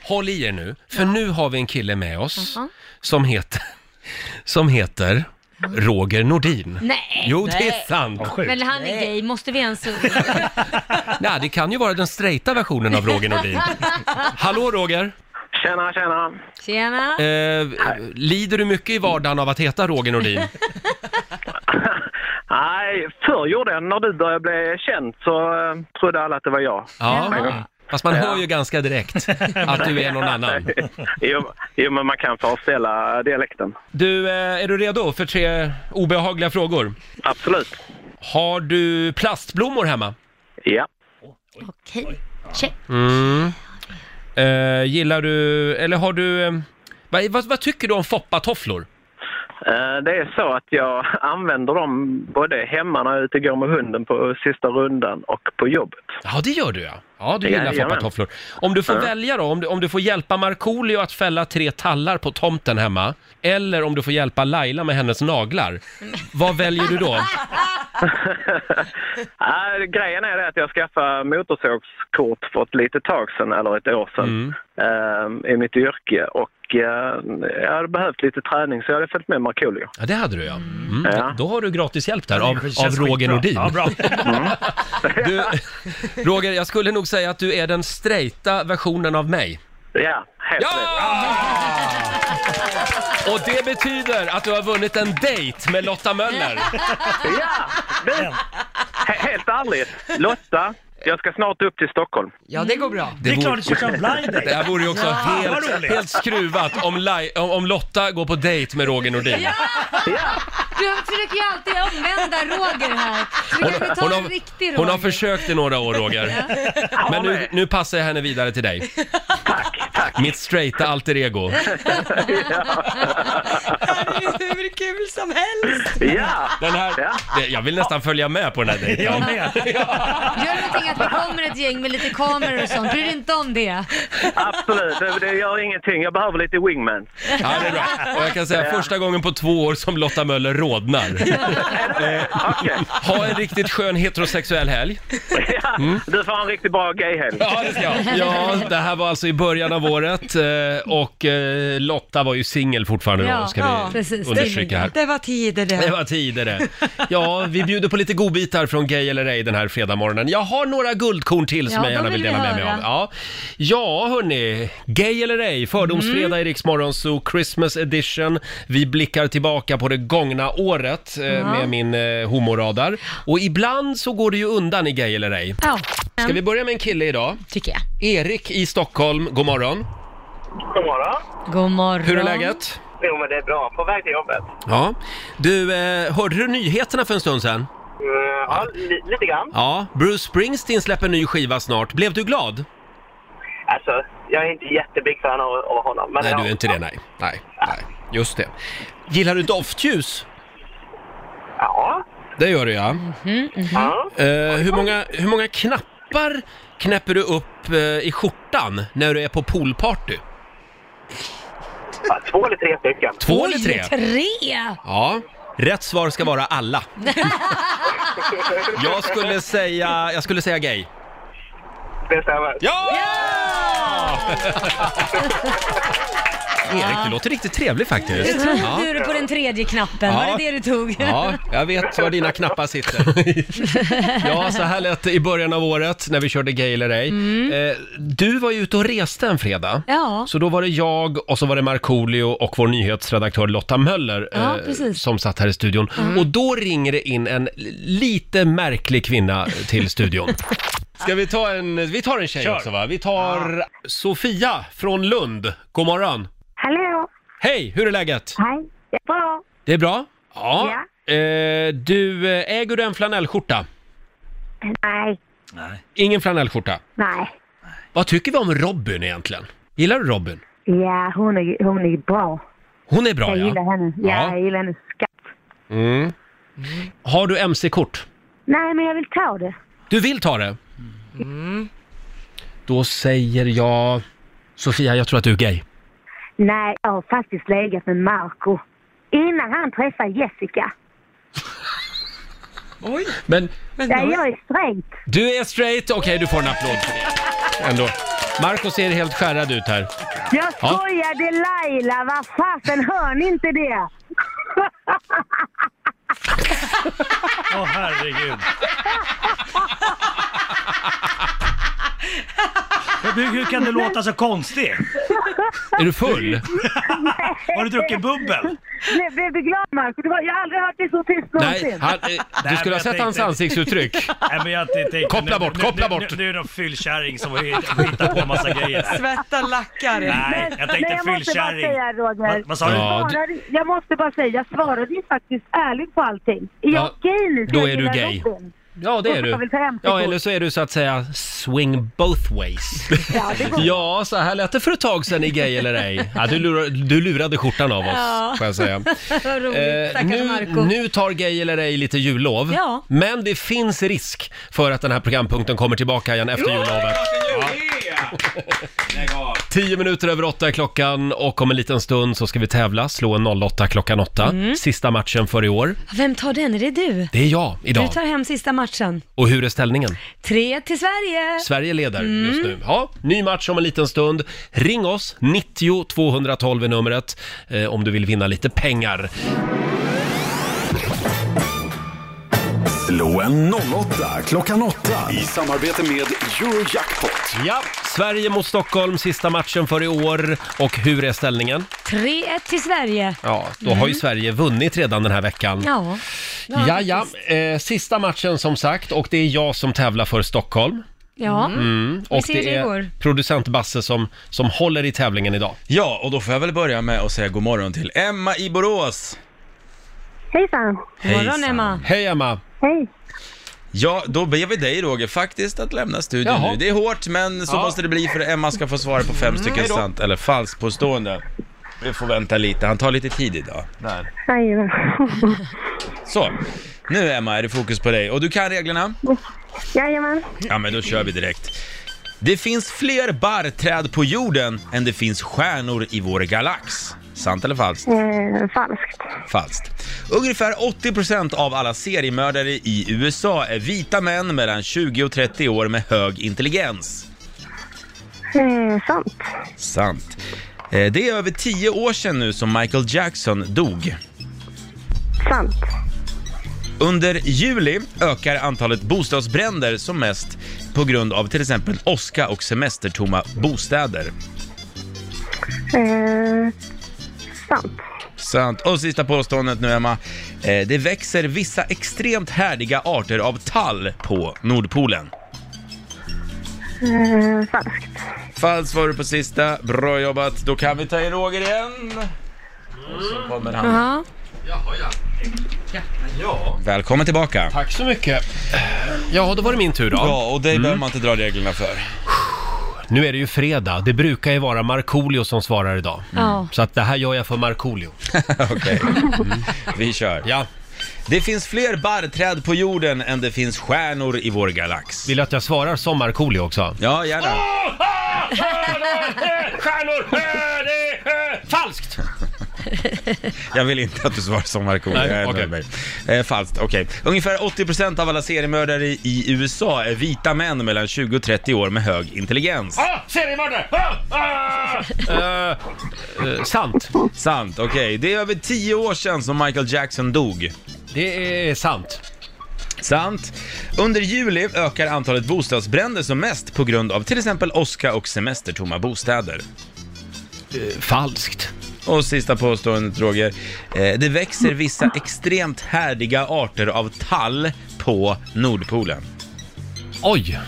Speaker 1: Håll i er nu, för nu har vi en kille med oss som heter, som heter Roger Nordin.
Speaker 5: Nej!
Speaker 1: Jo, det är
Speaker 5: Nej.
Speaker 1: sant.
Speaker 5: Men han är gay, måste vi ens...
Speaker 1: Nej, det kan ju vara den straighta versionen av Roger Nordin. Hallå Roger!
Speaker 14: Tjena, tjena.
Speaker 5: Tjena!
Speaker 1: Eh, lider du mycket i vardagen av att heta Roger Nordin?
Speaker 14: Nej, förr gjorde jag När du började bli känd så eh, trodde alla att det var jag.
Speaker 1: Ja, fast man
Speaker 14: Ja.
Speaker 1: hör ju ganska direkt att du är någon annan.
Speaker 14: jo, jo, men man kan förställa dialekten.
Speaker 1: Du, eh, är du redo för tre obehagliga frågor?
Speaker 14: Absolut.
Speaker 1: Har du plastblommor hemma?
Speaker 14: Ja.
Speaker 5: Okej, check.
Speaker 1: Mm. Eh, gillar du, eller har du, eh, vad, vad, vad tycker du om foppatofflor?
Speaker 14: Eh, Det är så att jag använder dem både hemma när jag är ute och går med hunden på sista rundan och på jobbet.
Speaker 1: Ja, det gör du ja. Ja, du gillar
Speaker 14: Jajamän.
Speaker 1: foppatofflor. Om du får
Speaker 14: Ja.
Speaker 1: välja då, om du, om du får hjälpa Markoolio att fälla tre tallar på tomten hemma, eller om du får hjälpa Laila med hennes naglar, vad väljer du då?
Speaker 14: Nej, Eh, grejen är det att jag skaffade motorsågskort för ett litet tag sedan, eller ett år sedan,
Speaker 1: Mm.
Speaker 14: eh, i mitt yrke. Och eh, jag hade behövt lite träning så jag hade följt med Markoolio.
Speaker 1: Ja, det hade du ja. Mm.
Speaker 14: Ja.
Speaker 1: Då har du gratis hjälp där av,
Speaker 14: känns
Speaker 1: av Roger
Speaker 14: skitbra.
Speaker 1: Nordin.
Speaker 14: Ja, bra.
Speaker 1: Du, Roger, jag skulle nog säga att du är den straighta versionen av mig.
Speaker 14: Ja, helt
Speaker 1: Och det betyder att du har vunnit en dejt med Lotta Möller.
Speaker 14: Ja, men, he- helt ärligt. Lotta, jag ska snart upp till Stockholm.
Speaker 2: Ja, det går bra.
Speaker 1: vore-
Speaker 14: date.
Speaker 1: Det här vore ju också
Speaker 14: Ja, vad
Speaker 1: helt,
Speaker 14: roligt.
Speaker 1: helt skruvat om, Lai- om, om Lotta går på dejt med Roger Nordin.
Speaker 5: Du försöker ju alltid omvända Roger här. Så du kanske tar en riktig Roger.
Speaker 1: hon har försökt i några år Roger. Men nu, nu passar jag henne vidare till dig. Tack, tack. Mitt straighta alter ego.
Speaker 2: Hur kul som helst!
Speaker 1: Den här, det- Jag vill nästan följa med på den här dejten.
Speaker 5: Gör någonting att det kommer ett gäng med lite kameror och sånt. Bry dig inte om det.
Speaker 14: Absolut, det, det gör ingenting. Jag behöver lite wingman.
Speaker 1: Ja, det är bra. Och jag kan säga
Speaker 14: Ja.
Speaker 1: första gången på två år som Lotta Möller rodnar. Eh, Ha en riktigt skön heterosexuell helg. Mm.
Speaker 14: Du får ha en riktigt bra gayhelg.
Speaker 1: Ja, det ska jag. Ja, det här var alltså i början av året eh, och eh, Lotta var ju singel fortfarande då, ska vi understryka här.
Speaker 2: Det var tider det.
Speaker 1: Det var tider det. Ja, vi bjuder på lite godbitar från Gay eller ej den här fredagmorgonen. Jag har några guldkorn till som
Speaker 7: Ja,
Speaker 1: jag
Speaker 7: de
Speaker 1: gärna
Speaker 7: vill
Speaker 1: vill
Speaker 7: vi
Speaker 1: dela med mig
Speaker 7: höra.
Speaker 1: av. Ja, ja hörni. Gay eller ej, fördomsfredag
Speaker 7: Mm.
Speaker 1: i Rix Morgon Zoo, Christmas edition. Vi blickar tillbaka på det gångna året eh,
Speaker 7: Ja.
Speaker 1: med min eh, homoradar. Och ibland så går det ju undan i Gay eller ej.
Speaker 5: Ja.
Speaker 1: Ska vi börja med en kille idag?
Speaker 5: Tycker jag.
Speaker 1: Erik i Stockholm, god morgon.
Speaker 15: God morgon.
Speaker 5: God morgon.
Speaker 1: Hur är läget?
Speaker 15: Jo, men det är bra. På väg till jobbet.
Speaker 1: Ja. Du, eh, hörde du nyheterna för en stund sedan?
Speaker 15: Mm, ja, li- lite grann.
Speaker 1: Ja, Bruce Springsteen släpper ny skiva snart. Blev du glad?
Speaker 15: Alltså, jag är inte jättebig fan av, av honom. Men
Speaker 1: nej,
Speaker 15: ja.
Speaker 1: du är inte det, nej. nej. Nej, just det. Gillar du doftljus?
Speaker 15: Ja.
Speaker 1: Det gör du, ja. Eh, hur, många, hur många knappar knäpper du upp eh, i skjortan när du är på poolparty?
Speaker 15: Ja, Två eller tre stycken.
Speaker 1: Två eller tre?
Speaker 5: Tre!
Speaker 1: Ja. Rätt svar ska vara alla. Jag skulle säga, jag skulle säga gay.
Speaker 15: Det stämmer.
Speaker 1: Ja! Erik, du låter riktigt trevlig
Speaker 5: Du
Speaker 1: faktiskt.
Speaker 5: tog
Speaker 1: Ja.
Speaker 5: du på den tredje knappen, var
Speaker 1: Ja.
Speaker 5: det det du tog?
Speaker 1: Ja, jag vet var dina knappar sitter. Ja, så här lät det i början av året när vi körde Gay eller ej. Eh, Du var ju ute och reste en fredag.
Speaker 5: Ja.
Speaker 1: Så då var det jag och så var det Markoolio och vår nyhetsredaktör Lotta Möller
Speaker 5: Ja,
Speaker 1: eh,
Speaker 5: precis. Mm.
Speaker 1: som satt här i studion. Och då ringer det in en lite märklig kvinna till studion. Ska vi ta en, vi tar en tjej
Speaker 7: Kör.
Speaker 1: också va? Vi tar Sofia från Lund. God morgon.
Speaker 16: Hallå!
Speaker 1: Hej, hur är läget?
Speaker 16: Hej! Det är bra.
Speaker 1: Det är bra? Ja. Eh, du, eh, äger du en flanellskjorta?
Speaker 16: Nej,
Speaker 1: Nej. Ingen flanellskjorta?
Speaker 16: nej.
Speaker 1: Vad tycker vi om Robin egentligen? Gillar du Robin?
Speaker 16: Ja, hon är, hon är bra.
Speaker 1: Hon är bra
Speaker 16: jag
Speaker 1: ja.
Speaker 16: gillar henne. Ja,
Speaker 1: Ja.
Speaker 16: jag gillar henne skatt.
Speaker 1: Mm. Har du mc-kort?
Speaker 16: Nej, men jag vill ta det.
Speaker 1: Du vill ta det? Då säger jag... Sofia, jag tror att du är gay.
Speaker 16: Nej, jag har faktiskt legat med Marco. Innan han träffade Jessica.
Speaker 2: Oj!
Speaker 1: Men
Speaker 16: ja, jag är straight.
Speaker 1: du är straight, okej du får en applåd för det. Ändå. Marco ser helt skärrad ut här.
Speaker 16: Jag
Speaker 1: Ja.
Speaker 16: skojade Laila, vad fasen hör ni inte det?
Speaker 13: Åh herregud. Men Hur, hur kan du låta så konstig?
Speaker 1: Är du full?
Speaker 13: Har du druckit bubbel?
Speaker 16: Blev- Blev du glad Marco? Du har- Jag har aldrig hört dig så tyst någonsin.
Speaker 1: Nej, han, eh, du skulle ha
Speaker 13: jag
Speaker 1: sett
Speaker 13: tänkte-
Speaker 1: hans ansiktsuttryck.
Speaker 13: Nej, men jag tänkte,
Speaker 1: Koppla
Speaker 13: nu-
Speaker 1: bort,
Speaker 13: nu-
Speaker 1: koppla
Speaker 13: nu-
Speaker 1: bort.
Speaker 13: Nu, nu är det någon fyllkärring som hittar hittar på en massa grejer.
Speaker 2: Svetta lackar.
Speaker 13: Nej, jag
Speaker 16: Men
Speaker 13: tänkte
Speaker 16: jag måste bara
Speaker 13: fyllkärring.
Speaker 16: säga Roger.
Speaker 13: Vad- vad sa du?
Speaker 16: jag,
Speaker 13: Ja, du-
Speaker 16: svarade, jag måste bara säga, jag svarade ju faktiskt ärligt på allting. Är jag
Speaker 1: Ja,
Speaker 16: gay nu? så
Speaker 1: då
Speaker 16: jag
Speaker 1: är du
Speaker 16: gillar
Speaker 1: gay.
Speaker 16: Robin?
Speaker 1: Ja, det
Speaker 16: Och
Speaker 1: är
Speaker 16: så har vi
Speaker 1: du.
Speaker 16: ett MC-kort.
Speaker 1: Ja, eller så är du så att säga swing both ways.
Speaker 16: Ja, det går.
Speaker 1: Ja, så här lät det för ett tag sedan i Gay eller ej. Ja, du, lurade, du lurade skjortan av oss, får jag säga.
Speaker 5: Vad roligt.
Speaker 1: Eh,
Speaker 5: Stackars
Speaker 1: nu,
Speaker 5: Marco.
Speaker 1: nu tar Gay eller ej lite jullov,
Speaker 5: Ja.
Speaker 1: men det finns risk för att den här programpunkten kommer tillbaka igen efter jullovet.
Speaker 8: Lägg av!
Speaker 1: Tio minuter över åtta är klockan och om en liten stund så ska vi tävla, slå en 08 klockan åtta.
Speaker 5: Mm.
Speaker 1: Sista matchen för i år.
Speaker 5: Vem tar den? Är det du?
Speaker 1: Det är jag idag.
Speaker 5: Du tar hem sista matchen.
Speaker 1: Och hur är ställningen?
Speaker 5: Tre till Sverige.
Speaker 1: Sverige leder
Speaker 5: Mm.
Speaker 1: just nu. Ja, ny match om en liten stund. Ring oss, 90 212 är numret, eh, om du vill vinna lite pengar.
Speaker 3: Slå en 08 klockan 8.
Speaker 1: I samarbete med Eurojackpot. Ja, Sverige mot Stockholm, sista matchen för i år. Och hur är ställningen?
Speaker 5: 3-1 till Sverige.
Speaker 1: Ja, då har ju
Speaker 5: Mm.
Speaker 1: Sverige vunnit redan den här veckan.
Speaker 5: Ja.
Speaker 1: Ja, ja. Eh, sista matchen som sagt och det är jag som tävlar för Stockholm.
Speaker 5: Ja.
Speaker 1: Mm.
Speaker 5: Vi
Speaker 1: Och
Speaker 5: ser hur
Speaker 1: det
Speaker 5: det
Speaker 1: är
Speaker 5: går.
Speaker 1: producent Basse som, som håller i tävlingen idag.
Speaker 8: Ja, och då får jag väl börja med att säga god morgon till Emma i Borås.
Speaker 16: Hejsan!
Speaker 8: Hejsan.
Speaker 1: Hej Emma!
Speaker 16: Hej!
Speaker 8: Ja, då ber vi dig Roger faktiskt att lämna studion
Speaker 1: Jaha.
Speaker 8: nu. Det är hårt, men så
Speaker 1: Ja. Mm,
Speaker 8: måste det bli för att Emma ska få svara på fem stycken
Speaker 1: Hejdå.
Speaker 8: sant eller falskt påstående. Vi får vänta lite, han tar lite tid idag. Där.
Speaker 16: Jajamän.
Speaker 8: Så, nu Emma är det fokus på dig och du kan reglerna?
Speaker 16: Jajamän.
Speaker 8: Ja, men då kör vi direkt. Det finns fler barrträd på jorden än det finns stjärnor i vår galax. Sant eller falskt?
Speaker 16: Eh, falskt.
Speaker 8: Falskt. Ungefär 80% av alla seriemördare i USA är vita män mellan 20 och 30 år med hög intelligens.
Speaker 16: Eh, sant.
Speaker 8: Sant. Eh, Det är över 10 år sedan nu som Michael Jackson dog.
Speaker 16: Sant.
Speaker 8: Under juli ökar antalet bostadsbränder som mest på grund av till exempel åska och semestertomma bostäder.
Speaker 16: Eh, sant.
Speaker 8: Sant. Och sista påståendet nu Emma. Eh, Det växer vissa extremt härdiga arter av tall på Nordpolen.
Speaker 16: Eh, falskt.
Speaker 8: Falskt var du på sista. Bra jobbat. Då kan vi ta in Roger igen. Och så kommer han.
Speaker 5: Ja.
Speaker 1: Ja.
Speaker 8: Välkommen tillbaka.
Speaker 1: Tack så mycket. Ja, då var det min tur då.
Speaker 8: Ja, och dig
Speaker 1: Mm.
Speaker 8: behöver man inte dra reglerna för.
Speaker 1: Nu är det ju fredag, det brukar ju vara Markoolio som svarar idag.
Speaker 5: Ja.
Speaker 1: Så att det här gör jag för Markoolio.
Speaker 8: Okej. Vi kör.
Speaker 1: Ja.
Speaker 8: Det finns fler barrträd på jorden än det finns stjärnor i vår galax.
Speaker 1: Vill du att jag svarar som Markoolio också?
Speaker 8: Ja, gärna.
Speaker 1: Eh, Stjärnor! Eh, Falskt!
Speaker 8: Jag vill inte att du svarar som Markoolio.
Speaker 1: Nej,
Speaker 8: Jag är
Speaker 1: okej.
Speaker 8: nöjd med dig. Eh, falskt, okej. Ungefär 80% av alla seriemördare i USA är vita män mellan 20 och 30 år med hög intelligens.
Speaker 1: Ah, seriemördare! Ah, ah! Eh, eh, sant.
Speaker 8: Sant, okej. Det är över 10 år sedan som Michael Jackson dog.
Speaker 1: Det är sant.
Speaker 8: Sant. Under juli ökar antalet bostadsbränder som mest på grund av till exempel åska och semestertomma bostäder.
Speaker 1: falskt.
Speaker 8: Och sista påståendet Roger. Eh, det växer vissa extremt härdiga arter av tall på Nordpolen.
Speaker 1: Oj!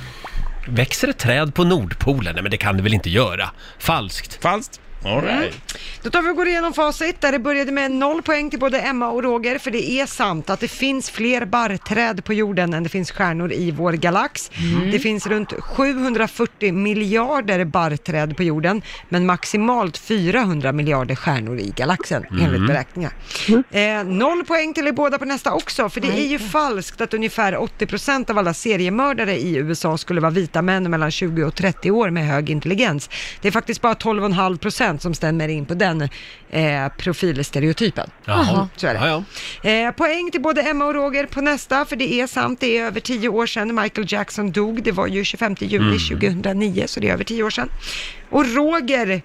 Speaker 1: Växer ett träd på Nordpolen? Nej men det kan det väl inte göra? Falskt.
Speaker 8: Falskt. All right.
Speaker 2: Då tar vi och går igenom facit där det började med noll poäng till både Emma och Roger för det är sant att det finns fler barrträd på jorden än det finns stjärnor i vår galax. Det finns runt 740 miljarder barrträd på jorden men maximalt 400 miljarder stjärnor i galaxen enligt
Speaker 16: Mm.
Speaker 2: beräkningar. Eh, noll poäng till er båda på nästa också för det är ju falskt att ungefär 80% av alla seriemördare i USA skulle vara vita män mellan 20 och 30 år med hög intelligens. Det är faktiskt bara 12,5% som stämmer in på den eh, profilstereotypen. Mm,
Speaker 1: Jaha.
Speaker 2: Så är det.
Speaker 1: Ja,
Speaker 2: Eh, poäng till både Emma och Roger på nästa, för det är sant, det är över 10 år sedan Michael Jackson dog. Det var ju 25 juli
Speaker 1: Mm.
Speaker 2: 2009, så det är över 10 år sedan. Och Roger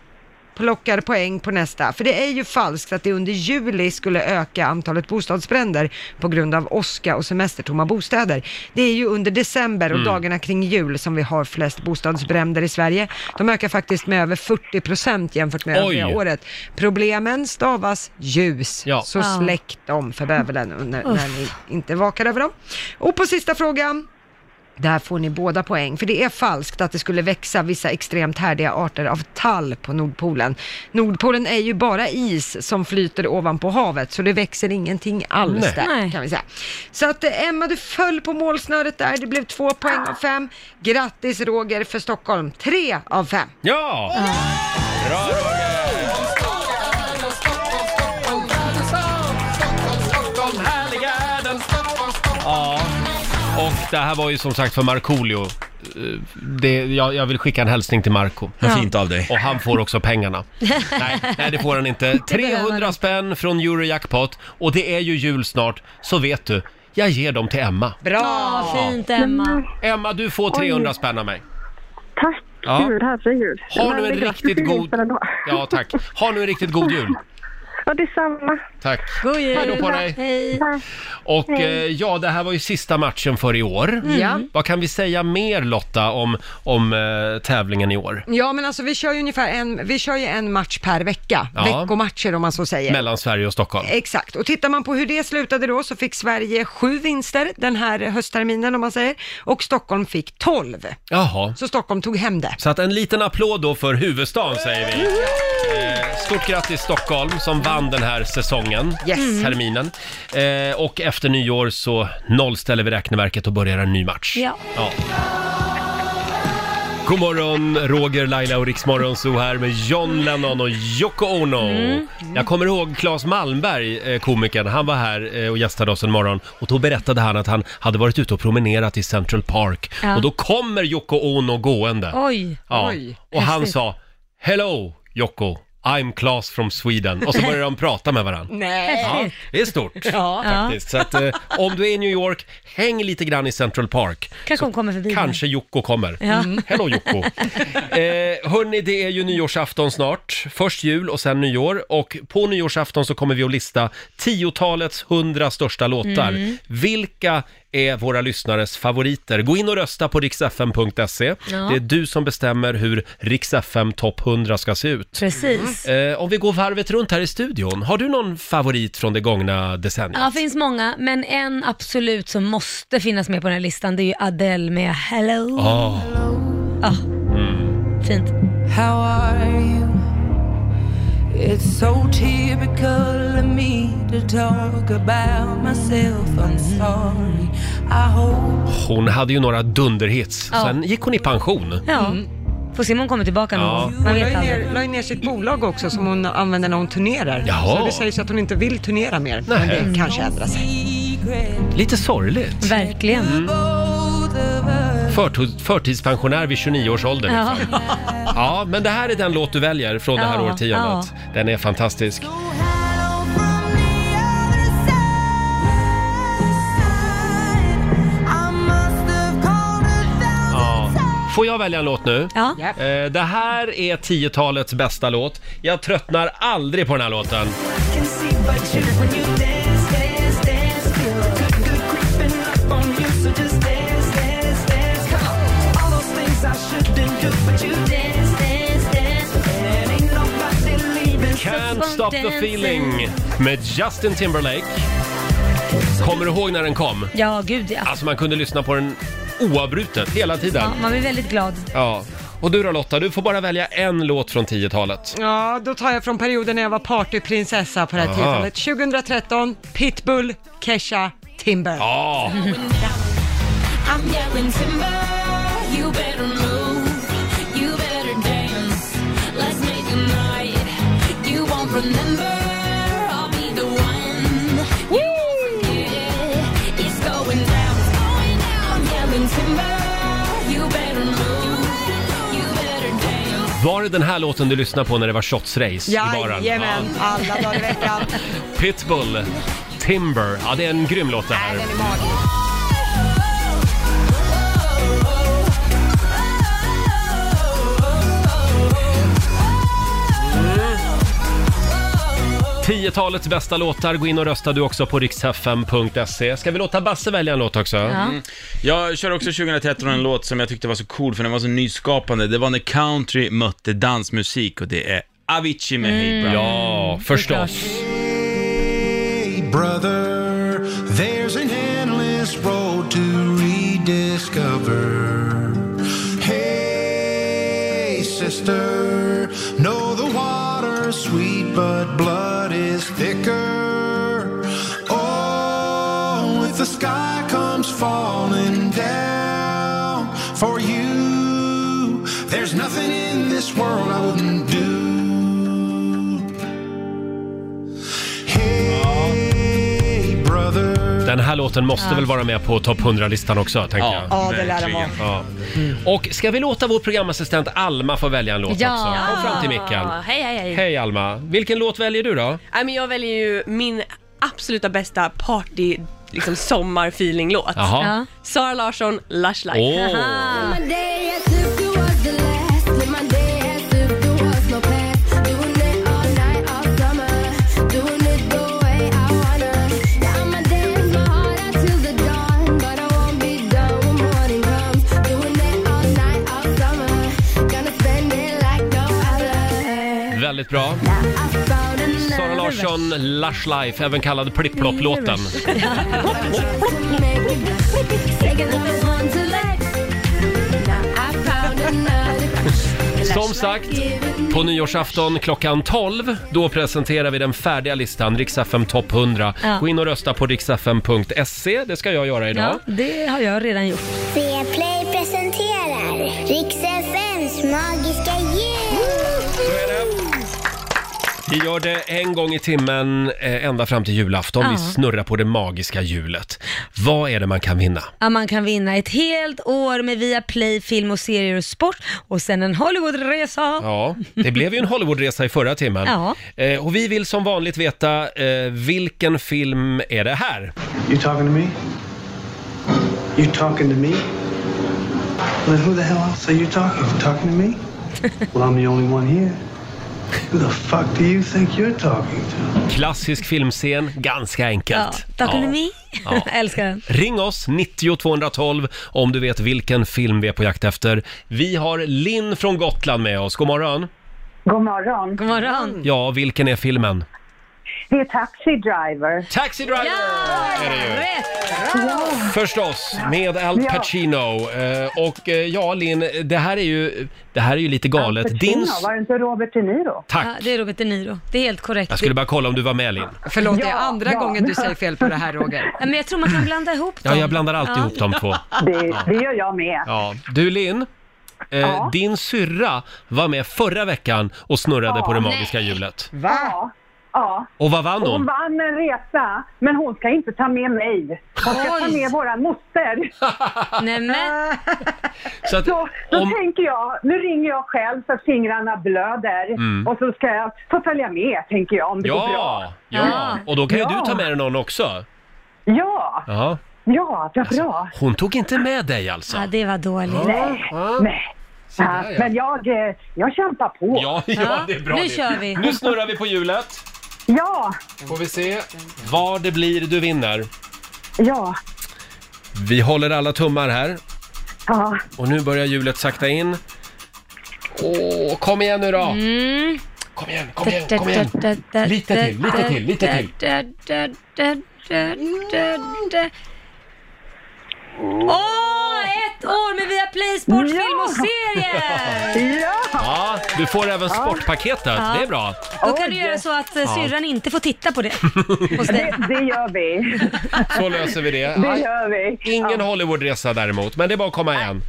Speaker 2: plockar poäng på nästa, för det är ju falskt att det under juli skulle öka antalet bostadsbränder på grund av åska och semestertomma bostäder. Det är ju under december och
Speaker 16: Mm.
Speaker 2: dagarna kring jul som vi har flest bostadsbränder i Sverige. De ökar faktiskt med över 40 procent jämfört med
Speaker 16: Oj.
Speaker 2: övriga året. Problemen stavas ljus, så
Speaker 16: Ja.
Speaker 2: släck dem för bävelen när, när
Speaker 16: Uff.
Speaker 2: ni inte vakar över dem. Och på sista frågan, där får ni båda poäng, för det är falskt att det skulle växa vissa extremt härdiga arter av tall på Nordpolen. Nordpolen är ju bara is som flyter ovanpå havet, så det växer ingenting alls
Speaker 16: Nej.
Speaker 2: där
Speaker 16: Nej.
Speaker 2: kan vi säga. Så att eh, Emma, du föll på målsnöret där, det blev två poäng av fem. Grattis Roger för Stockholm, tre av fem.
Speaker 1: Ja!
Speaker 8: Bra Roger!
Speaker 1: Ja, och det här var ju som sagt för Markoolio. eh, det, jag, jag vill skicka en hälsning till Marco.
Speaker 8: Vad fint av dig.
Speaker 1: Och han får också pengarna. nej, nej, det får han inte. 300 spänn från Eurojackpot och det är ju jul snart, så vet du, jag ger dem till Emma.
Speaker 5: Bra! fint Emma.
Speaker 1: Emma, du får 300 spänn av mig.
Speaker 17: Tack!
Speaker 1: Ja.
Speaker 17: Gud, herregud.
Speaker 1: Har
Speaker 17: Men
Speaker 1: du en
Speaker 17: det är
Speaker 1: riktigt
Speaker 17: gratis
Speaker 1: god-
Speaker 17: för ändå.
Speaker 1: Ja, tack. Ha nu en riktigt god jul.
Speaker 17: Ja, detsamma.
Speaker 1: Tack.
Speaker 5: God jul.
Speaker 1: Hej då på dig.
Speaker 5: Hej.
Speaker 1: Och
Speaker 17: Hej.
Speaker 1: eh, ja, det här var ju sista matchen för i år.
Speaker 2: Mm. Ja.
Speaker 1: Vad kan vi säga mer Lotta om, om eh, tävlingen i år?
Speaker 2: Ja, men alltså vi kör ju ungefär en, vi kör ju en match per vecka.
Speaker 1: Ja.
Speaker 2: Veckomatcher om man så säger.
Speaker 1: Mellan Sverige och Stockholm.
Speaker 2: Exakt, och tittar man på hur det slutade då så fick Sverige sju vinster den här höstterminen om man säger, och Stockholm fick tolv.
Speaker 1: Jaha.
Speaker 2: Så Stockholm tog hem det.
Speaker 1: Så att en liten applåd då för huvudstaden säger vi. Eh, Stort grattis Stockholm som vann den här säsongen,
Speaker 2: Yes. Mm.
Speaker 1: terminen. Eh, och efter nyår så nollställer vi räkneverket och börjar en ny match.
Speaker 5: Ja.
Speaker 1: Ja. God morgon, Roger, Laila och Riksmorgon så här med John Lennon och Yoko Ono.
Speaker 5: Mm.
Speaker 1: Jag kommer ihåg Claes Malmberg, eh, komikern, han var här eh, och gästade oss en morgon och då berättade han att han hade varit ute och promenerat i Central Park
Speaker 5: Ja.
Speaker 1: och då kommer Yoko Ono gående.
Speaker 5: Oj.
Speaker 1: Ja.
Speaker 5: Oj.
Speaker 1: Och han
Speaker 5: Häftigt.
Speaker 1: sa “Hello Yoko, I'm Claes from Sweden” och så började de prata med varandra.
Speaker 2: Nej.
Speaker 1: Ja, det är stort
Speaker 5: Ja.
Speaker 1: faktiskt. Så att, eh, om du är i New York, häng lite grann i Central Park.
Speaker 5: Kanske hon kommer förbi.
Speaker 1: Kanske Jocko kommer.
Speaker 5: Mm. Ja.
Speaker 1: Mm. Hello Jocko! Eh, hörni, det är ju nyårsafton snart. Först jul och sen nyår. Och på nyårsafton så kommer vi att lista tiotalets hundra största låtar.
Speaker 5: Mm.
Speaker 1: Vilka är våra lyssnares favoriter? Gå in och rösta på riksfm.se. E. Det är du som bestämmer hur riksfm topp 100 ska se ut.
Speaker 5: Precis.
Speaker 1: Eh, om vi går varvet runt här i studion, har du någon favorit från det gångna decenniet?
Speaker 5: Ja, det finns många, men en absolut som måste finnas med på den här listan, det är ju Adele med Hello.
Speaker 1: Ah.
Speaker 5: Ja,
Speaker 1: Mm.
Speaker 5: fint.
Speaker 7: How are you? It's so typical of me to talk about myself. I'm sorry. I hope.
Speaker 1: Hon hade ju några dunderhits,
Speaker 5: Ja.
Speaker 1: sen gick hon i pension.
Speaker 5: Ja. Får se om hon kommer tillbaka någon
Speaker 1: Ja.
Speaker 5: gång. Man
Speaker 2: Hon la
Speaker 5: vet
Speaker 2: ju
Speaker 5: aldrig.
Speaker 2: ner, la ju ner sitt bolag också som hon använder när hon turnerar.
Speaker 1: Jaha.
Speaker 2: Så det sägs att hon inte vill turnera mer, men
Speaker 1: Nej.
Speaker 2: det kanske ändrar sig.
Speaker 1: Lite sorgligt.
Speaker 5: Verkligen.
Speaker 1: Mm. Förtu- förtidspensionär vid 29 års ålder.
Speaker 5: Ja.
Speaker 1: ungefär. ja, men det här är den låt du väljer från det här
Speaker 5: Ja,
Speaker 1: årtiondet.
Speaker 5: ja.
Speaker 1: Den är fantastisk.
Speaker 7: I must have called it down.
Speaker 1: Ja. Får jag välja en låt nu?
Speaker 5: Ja.
Speaker 1: Eh, det här är 10-talets bästa låt. Jag tröttnar aldrig på den här låten.
Speaker 7: Can see but you when you dance, dance, dance. Feel the good, good creeping up on you, so just dance, dance, dance. Come on. All those things I shouldn't do, but you dance, dance, dance. And ain't nobody leaving.
Speaker 1: Can't stop the feeling med Justin Timberlake. Kommer du ihåg när den kom?
Speaker 5: Ja, gud ja.
Speaker 1: Alltså man kunde lyssna på den oavbrutet hela tiden.
Speaker 5: ja. Man blir väldigt glad.
Speaker 1: Ja. Och du då Lotta, du får bara välja en låt från 10-talet.
Speaker 2: Ja, då tar jag från perioden när jag var partyprinsessa på det här
Speaker 1: Aha.
Speaker 2: tillfället. 2013, Pitbull, Kesha, Timber.
Speaker 1: Ja.
Speaker 7: I'm yelling timber, you better move, you better dance. Let's make a night you won't remember. I'll be the one. You won't forget it. It's going down, it's going down. I'm yelling timber, you better move, you better dance.
Speaker 1: Var det den här låten du lyssnade på när det var shotsrace i baren?
Speaker 2: Jajamän, alla dagar i veckan.
Speaker 1: Pitbull, Timber. Ja, det är en grym låt det här. Mm. Tiotalets bästa låtar. Gå in och rösta du också på riksfm.se. E. Ska vi låta Basse välja en låt också?
Speaker 8: Mm. Jag kör också 2013 en låt som jag tyckte var så cool för den var så nyskapande. Det var när country mötte dansmusik och det är Avicii med Hey Brother.
Speaker 1: Ja, förstås.
Speaker 18: Hey, brother, there's an endless road to rediscover. Hey, sister, know the water's sweet, but blood is thicker. Oh, if the sky comes falling down for you, there's nothing in this world I wouldn't do. Hey, brother,
Speaker 1: Den här låten måste
Speaker 2: Ja.
Speaker 1: väl vara med på topp 100-listan också, tänker jag.
Speaker 2: Ja, det lär den vara.
Speaker 1: Ja. Och ska vi låta vår programassistent Alma få välja en låt också? Kom fram till micken.
Speaker 19: Hej, hej, hej.
Speaker 1: Hej Alma, vilken låt väljer du då?
Speaker 19: Nej, men jag väljer ju min absoluta bästa party liksom sommarfeeling-låt.
Speaker 1: Jaha. Ja.
Speaker 19: Sara Larsson, Lush Life.
Speaker 1: Åh. Väldigt bra. Sara Larsson, Lush Life, även kallad Plipplopp-låten. Som sagt, på nyårsafton klockan 12, då presenterar vi den färdiga listan, Rix FM topp 100.
Speaker 5: Ja.
Speaker 1: Gå in och rösta på rixfm.se, det ska jag göra idag.
Speaker 5: Ja, det har jag redan gjort.
Speaker 10: C-play presenterar Rix FMs magiska jul!
Speaker 1: Vi gör det en gång i timmen eh, ända fram till julafton.
Speaker 5: Ja.
Speaker 1: Vi snurrar på det magiska hjulet. Vad är det man kan vinna?
Speaker 5: Ja, man kan vinna ett helt år med Viaplay film och serier och sport och sen en Hollywoodresa.
Speaker 1: Ja, det blev ju en Hollywoodresa i förra timmen.
Speaker 5: Ja.
Speaker 1: Eh, och vi vill som vanligt veta, eh, vilken film är det här?
Speaker 20: You talking to me? You talking to me? Then who the hell else are you talking? You talking to me? well, I'm the only one here. Who the fuck do you think you're talking to?
Speaker 1: Klassisk filmscen, ganska
Speaker 5: Ja,
Speaker 1: enkelt.
Speaker 5: Talking to
Speaker 1: Ja.
Speaker 5: me.
Speaker 1: Ja.
Speaker 5: Älskar den.
Speaker 1: Ring oss, 90 212, om du vet vilken film vi är på jakt efter. Vi har Linn från Gotland med oss. God morgon.
Speaker 21: God morgon. God
Speaker 5: morgon.
Speaker 1: Ja, vilken är filmen?
Speaker 21: Det är Taxi Driver.
Speaker 1: Taxi Driver! Är det ju.
Speaker 21: Ja.
Speaker 1: Förstås, med Al
Speaker 21: Ja.
Speaker 1: Pacino. Eh, Och eh, ja, Linn, det här är ju, det här är ju lite galet.
Speaker 21: Pacino,
Speaker 1: Din...
Speaker 21: Var det inte Robert De Niro?
Speaker 1: Tack.
Speaker 5: Ja, det är Robert De Niro. Det är helt korrekt.
Speaker 1: Jag skulle bara kolla om du var med, Linn.
Speaker 2: Förlåt, det är andra gången du säger fel på det här Roger.
Speaker 5: Ja, men jag tror man kan blanda ihop
Speaker 1: Ja,
Speaker 5: dem.
Speaker 1: jag blandar alltid ihop de två.
Speaker 21: Det, det gör jag med.
Speaker 1: Ja. Du, Linn. Eh,
Speaker 21: Ja.
Speaker 1: Din syrra var med förra veckan och snurrade
Speaker 21: Ja,
Speaker 1: på det
Speaker 21: nej.
Speaker 1: magiska hjulet.
Speaker 21: Ja. ja.
Speaker 1: Och vad vann
Speaker 21: Hon
Speaker 1: hon?
Speaker 21: vann en resa, men hon ska inte ta med mig. Hon ska ta
Speaker 5: Oj.
Speaker 21: med våra moster.
Speaker 5: Nej, men...
Speaker 1: Så, att,
Speaker 21: Då
Speaker 1: om,
Speaker 21: tänker jag, nu ringer jag själv så fingrarna blöder
Speaker 1: Mm.
Speaker 21: och så ska jag få följa med tänker jag om det går bra.
Speaker 1: ja, ja, och då kan ju
Speaker 21: Ja.
Speaker 1: du ta med dig någon också.
Speaker 21: Ja,
Speaker 1: Ja.
Speaker 21: ja, vad
Speaker 13: Alltså,
Speaker 21: bra.
Speaker 1: Hon tog inte med dig alltså?
Speaker 5: Ja, det var dåligt.
Speaker 21: Nej, nej. Ja,
Speaker 1: där, ja.
Speaker 21: men jag, eh, jag kämpar på.
Speaker 1: Ja, ja, det är bra
Speaker 5: nu
Speaker 1: Linn.
Speaker 5: kör vi.
Speaker 1: Nu snurrar vi på hjulet.
Speaker 21: Ja,
Speaker 1: Får vi se vad det blir du vinner.
Speaker 21: ja,
Speaker 1: Vi håller alla tummar här.
Speaker 21: ja.
Speaker 1: Och nu börjar hjulet sakta in. Åh, kom igen nu då!
Speaker 5: Mm.
Speaker 1: Kom igen, kom igen, kom igen! Lite till, lite till, lite till.
Speaker 5: Åh, ett år med Viaplay Sport, film och serier!
Speaker 1: Ja, du får även sportpaketet.
Speaker 5: Ja.
Speaker 1: Det är bra.
Speaker 5: Då kan du göra så att eh,
Speaker 1: Ja.
Speaker 5: syrran inte får titta på det.
Speaker 21: Det, det gör vi.
Speaker 1: Så löser vi det.
Speaker 21: Det
Speaker 1: Aj,
Speaker 21: gör vi.
Speaker 1: Ingen
Speaker 21: ja.
Speaker 1: Hollywoodresa däremot, men det är bara att komma igen.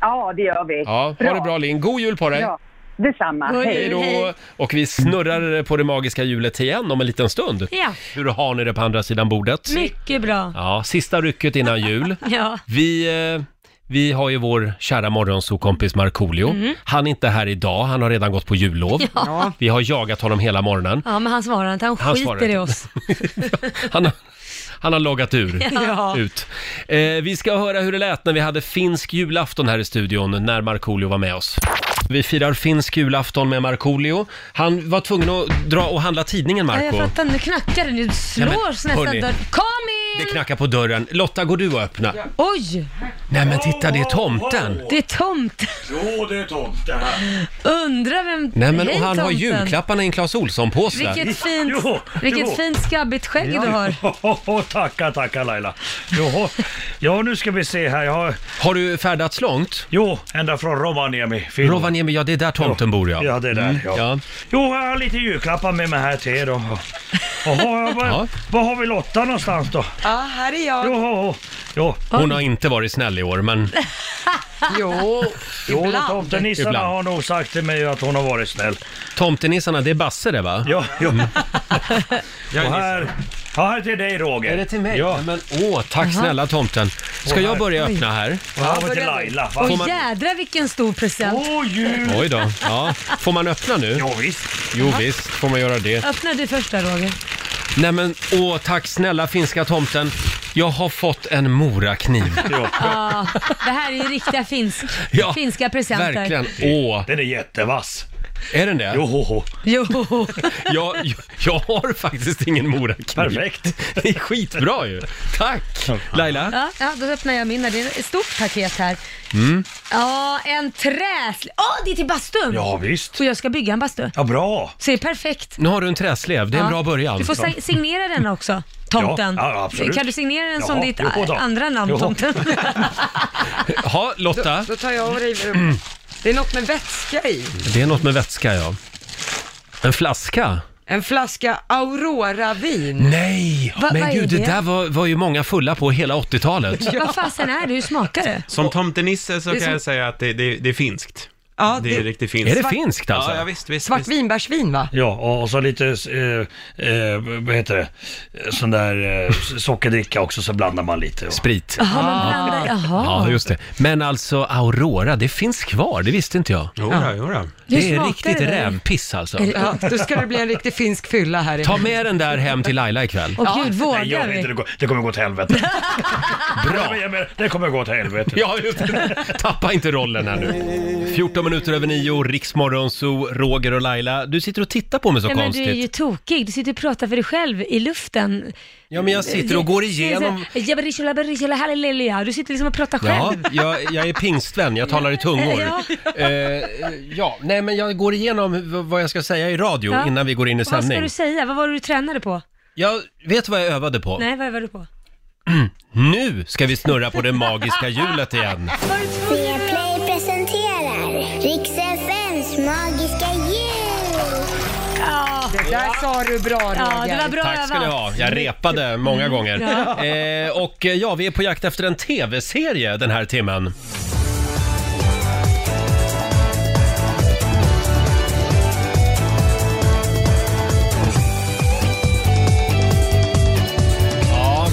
Speaker 21: ja, det gör vi.
Speaker 1: Ja, ha det bra Linn. God jul på dig!
Speaker 21: Ja, detsamma.
Speaker 1: Hej då! Och vi snurrar på det magiska hjulet igen om en liten stund.
Speaker 5: Ja.
Speaker 1: Hur har ni det på andra sidan bordet?
Speaker 5: Mycket bra.
Speaker 1: Ja, sista rycket innan jul.
Speaker 5: Ja.
Speaker 1: Vi, eh, vi har ju vår kära morgonsokompis Markoolio.
Speaker 5: Mm.
Speaker 1: Han är inte här idag, han har redan gått på jullov.
Speaker 5: Ja.
Speaker 1: Vi har jagat honom hela morgonen.
Speaker 5: ja, men han svarar inte. Han,
Speaker 1: Han svarar
Speaker 5: skiter i
Speaker 1: inte.
Speaker 5: oss.
Speaker 1: Han har, han har loggat ur.
Speaker 5: Ja.
Speaker 1: Ut. Eh, vi ska höra hur det lät när vi hade finsk julafton här i studion, när Markoolio var med oss. Vi firar finsk julafton med Markoolio. Han var tvungen att dra och handla tidningen,
Speaker 5: Ja, jag
Speaker 1: Marko.
Speaker 5: fattar. Nu knackar det. Nu slår
Speaker 1: Ja, men, hörni.
Speaker 5: nästan dörren. Kom in!
Speaker 1: Det knackar på dörren. Lotta, går du och öppna?
Speaker 5: Oj!
Speaker 1: Nej men titta, det är tomten!
Speaker 5: Det är tomt.
Speaker 1: Jo, det är tomten här.
Speaker 5: Undrar vem...
Speaker 1: Nej men,
Speaker 5: Hej,
Speaker 1: och han har
Speaker 5: tomten.
Speaker 1: julklapparna i en Clas Ohlson-påse.
Speaker 5: Vilket fint, vilket fint skabbigt skägg du har.
Speaker 13: Joho, tackar, tackar Laila. Joho. Ja, nu ska vi se här. Jag har...
Speaker 1: har du färdats långt?
Speaker 13: Jo, ända från Rovaniemi. Finland.
Speaker 1: Rovaniemi, ja det är där tomten
Speaker 13: Jo.
Speaker 1: bor ja.
Speaker 13: Ja, det är där.
Speaker 1: Mm,
Speaker 13: Ja. Jo, jag har lite julklappar med mig här till er då. Jaha, ja, vad, vad har vi Lotta någonstans då?
Speaker 2: Ja, här är jag.
Speaker 13: Joho, Jo.
Speaker 1: Hon har inte varit snäll i år, men
Speaker 2: Jo,
Speaker 13: Jo,
Speaker 2: ibland.
Speaker 13: tomtenissarna
Speaker 1: Ibland.
Speaker 13: har nog sagt till mig att hon har varit snäll.
Speaker 1: tomtenissarna, det är Basse det va?
Speaker 13: Ja, ja. Och här, ja, här till dig Roger.
Speaker 1: Är det till mig?
Speaker 13: Ja.
Speaker 1: Men åh, tack
Speaker 13: Jaha.
Speaker 1: snälla tomten. Ska
Speaker 13: Och
Speaker 1: jag
Speaker 13: här.
Speaker 1: börja
Speaker 13: Oj.
Speaker 1: öppna här?
Speaker 13: Och här var till Laila.
Speaker 1: Får
Speaker 5: Åh
Speaker 1: man...
Speaker 5: jädrar vilken stor present.
Speaker 1: Oj då. Ja. Får man öppna nu? Jo
Speaker 13: visst.
Speaker 1: Jo visst, får man göra det.
Speaker 5: Öppna du första Roger.
Speaker 1: Nej men åh, tack snälla finska tomten. Jag har fått en morakniv.
Speaker 5: Ja, det här är ju riktiga finsk,
Speaker 1: Ja,
Speaker 5: finska presenter.
Speaker 1: Verkligen. Åh.
Speaker 13: Den är jättevass.
Speaker 1: Är den det?
Speaker 13: Jo.
Speaker 5: Jo.
Speaker 1: Jag, jag, jag har faktiskt ingen morakniv.
Speaker 13: Perfekt.
Speaker 1: Det är skitbra ju. Tack! Laila?
Speaker 5: Ja, ja, då öppnar jag mina. Det är ett stort paket här.
Speaker 1: Mm.
Speaker 5: Ja, en träslev. Åh, det är till bastun!
Speaker 1: Ja, visst.
Speaker 5: Så jag ska bygga en bastu.
Speaker 13: Ja, bra.
Speaker 5: Så det är perfekt.
Speaker 1: Nu har du en träslev, det är en
Speaker 5: Ja.
Speaker 1: bra början. liksom.
Speaker 5: Du får sa- signera den också, tomten.
Speaker 1: Ja, ja, absolut.
Speaker 5: Kan du signera den som
Speaker 1: Ja,
Speaker 5: ditt
Speaker 1: jo då.
Speaker 5: a- andra namn,
Speaker 1: Jo.
Speaker 5: tomten?
Speaker 1: Ja, Lotta.
Speaker 2: Då tar jag och river upp. Det är något med vätska i.
Speaker 1: Det är något med vätska ja. En flaska?
Speaker 2: En flaska Aurora-vin.
Speaker 1: Mm. Nej!
Speaker 2: Va-
Speaker 1: Men
Speaker 2: vad är
Speaker 1: gud, det,
Speaker 2: det?
Speaker 1: där var, var ju många fulla på hela 80-talet.
Speaker 5: Vad fasen är det? Hur smakar det?
Speaker 8: Som tomtenisse så
Speaker 5: Det är
Speaker 8: kan
Speaker 5: som-
Speaker 8: jag säga att det, det, det är finskt.
Speaker 2: Ja,
Speaker 8: det är
Speaker 2: det-
Speaker 8: riktigt finskt.
Speaker 2: Är det Svart- finskt alltså?
Speaker 8: Ja, ja visst, visst. visst.
Speaker 2: Svartvinbärsvin va?
Speaker 13: Ja, och och så lite, eh, eh, vad heter det, sån där eh, sockerdricka också så blandar man lite. Och...
Speaker 1: Sprit.
Speaker 5: Jaha, man blandar. Jaha.
Speaker 1: Ah. Ja, just det. Men alltså Aurora, det finns kvar, det visste inte jag.
Speaker 8: Jodå, jodå.
Speaker 2: Hur
Speaker 1: Det är
Speaker 2: smakar
Speaker 1: riktigt
Speaker 2: det?
Speaker 1: rävpiss alltså.
Speaker 2: Ja, då ska det bli en riktig finsk fylla här inne.
Speaker 1: Ta med den där hem till Laila ikväll.
Speaker 5: Åh, gud, vågar
Speaker 13: Nej, jag
Speaker 5: vi?
Speaker 13: vet inte, det, går, det kommer gå åt helvete.
Speaker 2: Ah.
Speaker 1: Bra!
Speaker 13: Det kommer gå åt helvete.
Speaker 1: Ja, just det. Tappa inte rollen här nu. 14 minuter över nio, Riksmorgon, så Roger och Laila. Du sitter och tittar på mig så
Speaker 5: Nej, men du
Speaker 1: konstigt.
Speaker 5: är ju tokig. Du sitter och pratar för dig själv i luften.
Speaker 1: Ja, men jag sitter och går igenom...
Speaker 5: Jabarishula, barishula, halleluja. Du sitter liksom och pratar
Speaker 1: Ja,
Speaker 5: själv.
Speaker 1: jag, jag är pingstvän, jag talar i tungor.
Speaker 5: Ja.
Speaker 1: Eh, ja, nej men jag går igenom hur- vad jag ska säga i radio
Speaker 5: Ja.
Speaker 1: innan vi går in i
Speaker 5: Vad ska
Speaker 1: sändning.
Speaker 5: du säga? Vad var det du tränade på?
Speaker 1: Jag vet vad jag övade på.
Speaker 5: Nej, vad var du på?
Speaker 1: Nu ska vi snurra på det magiska hjulet igen.
Speaker 10: Viaplay presenterar Rix FMs magiska jul.
Speaker 2: Det där sa du ah, bra Roger.
Speaker 5: Ja, det var bra
Speaker 1: Tack ska ni ha. Jag repade många
Speaker 5: Mm.
Speaker 1: gånger.
Speaker 2: Ja.
Speaker 1: Eh, och eh, ja, vi är på jakt efter en tv-serie den här timmen. Ja.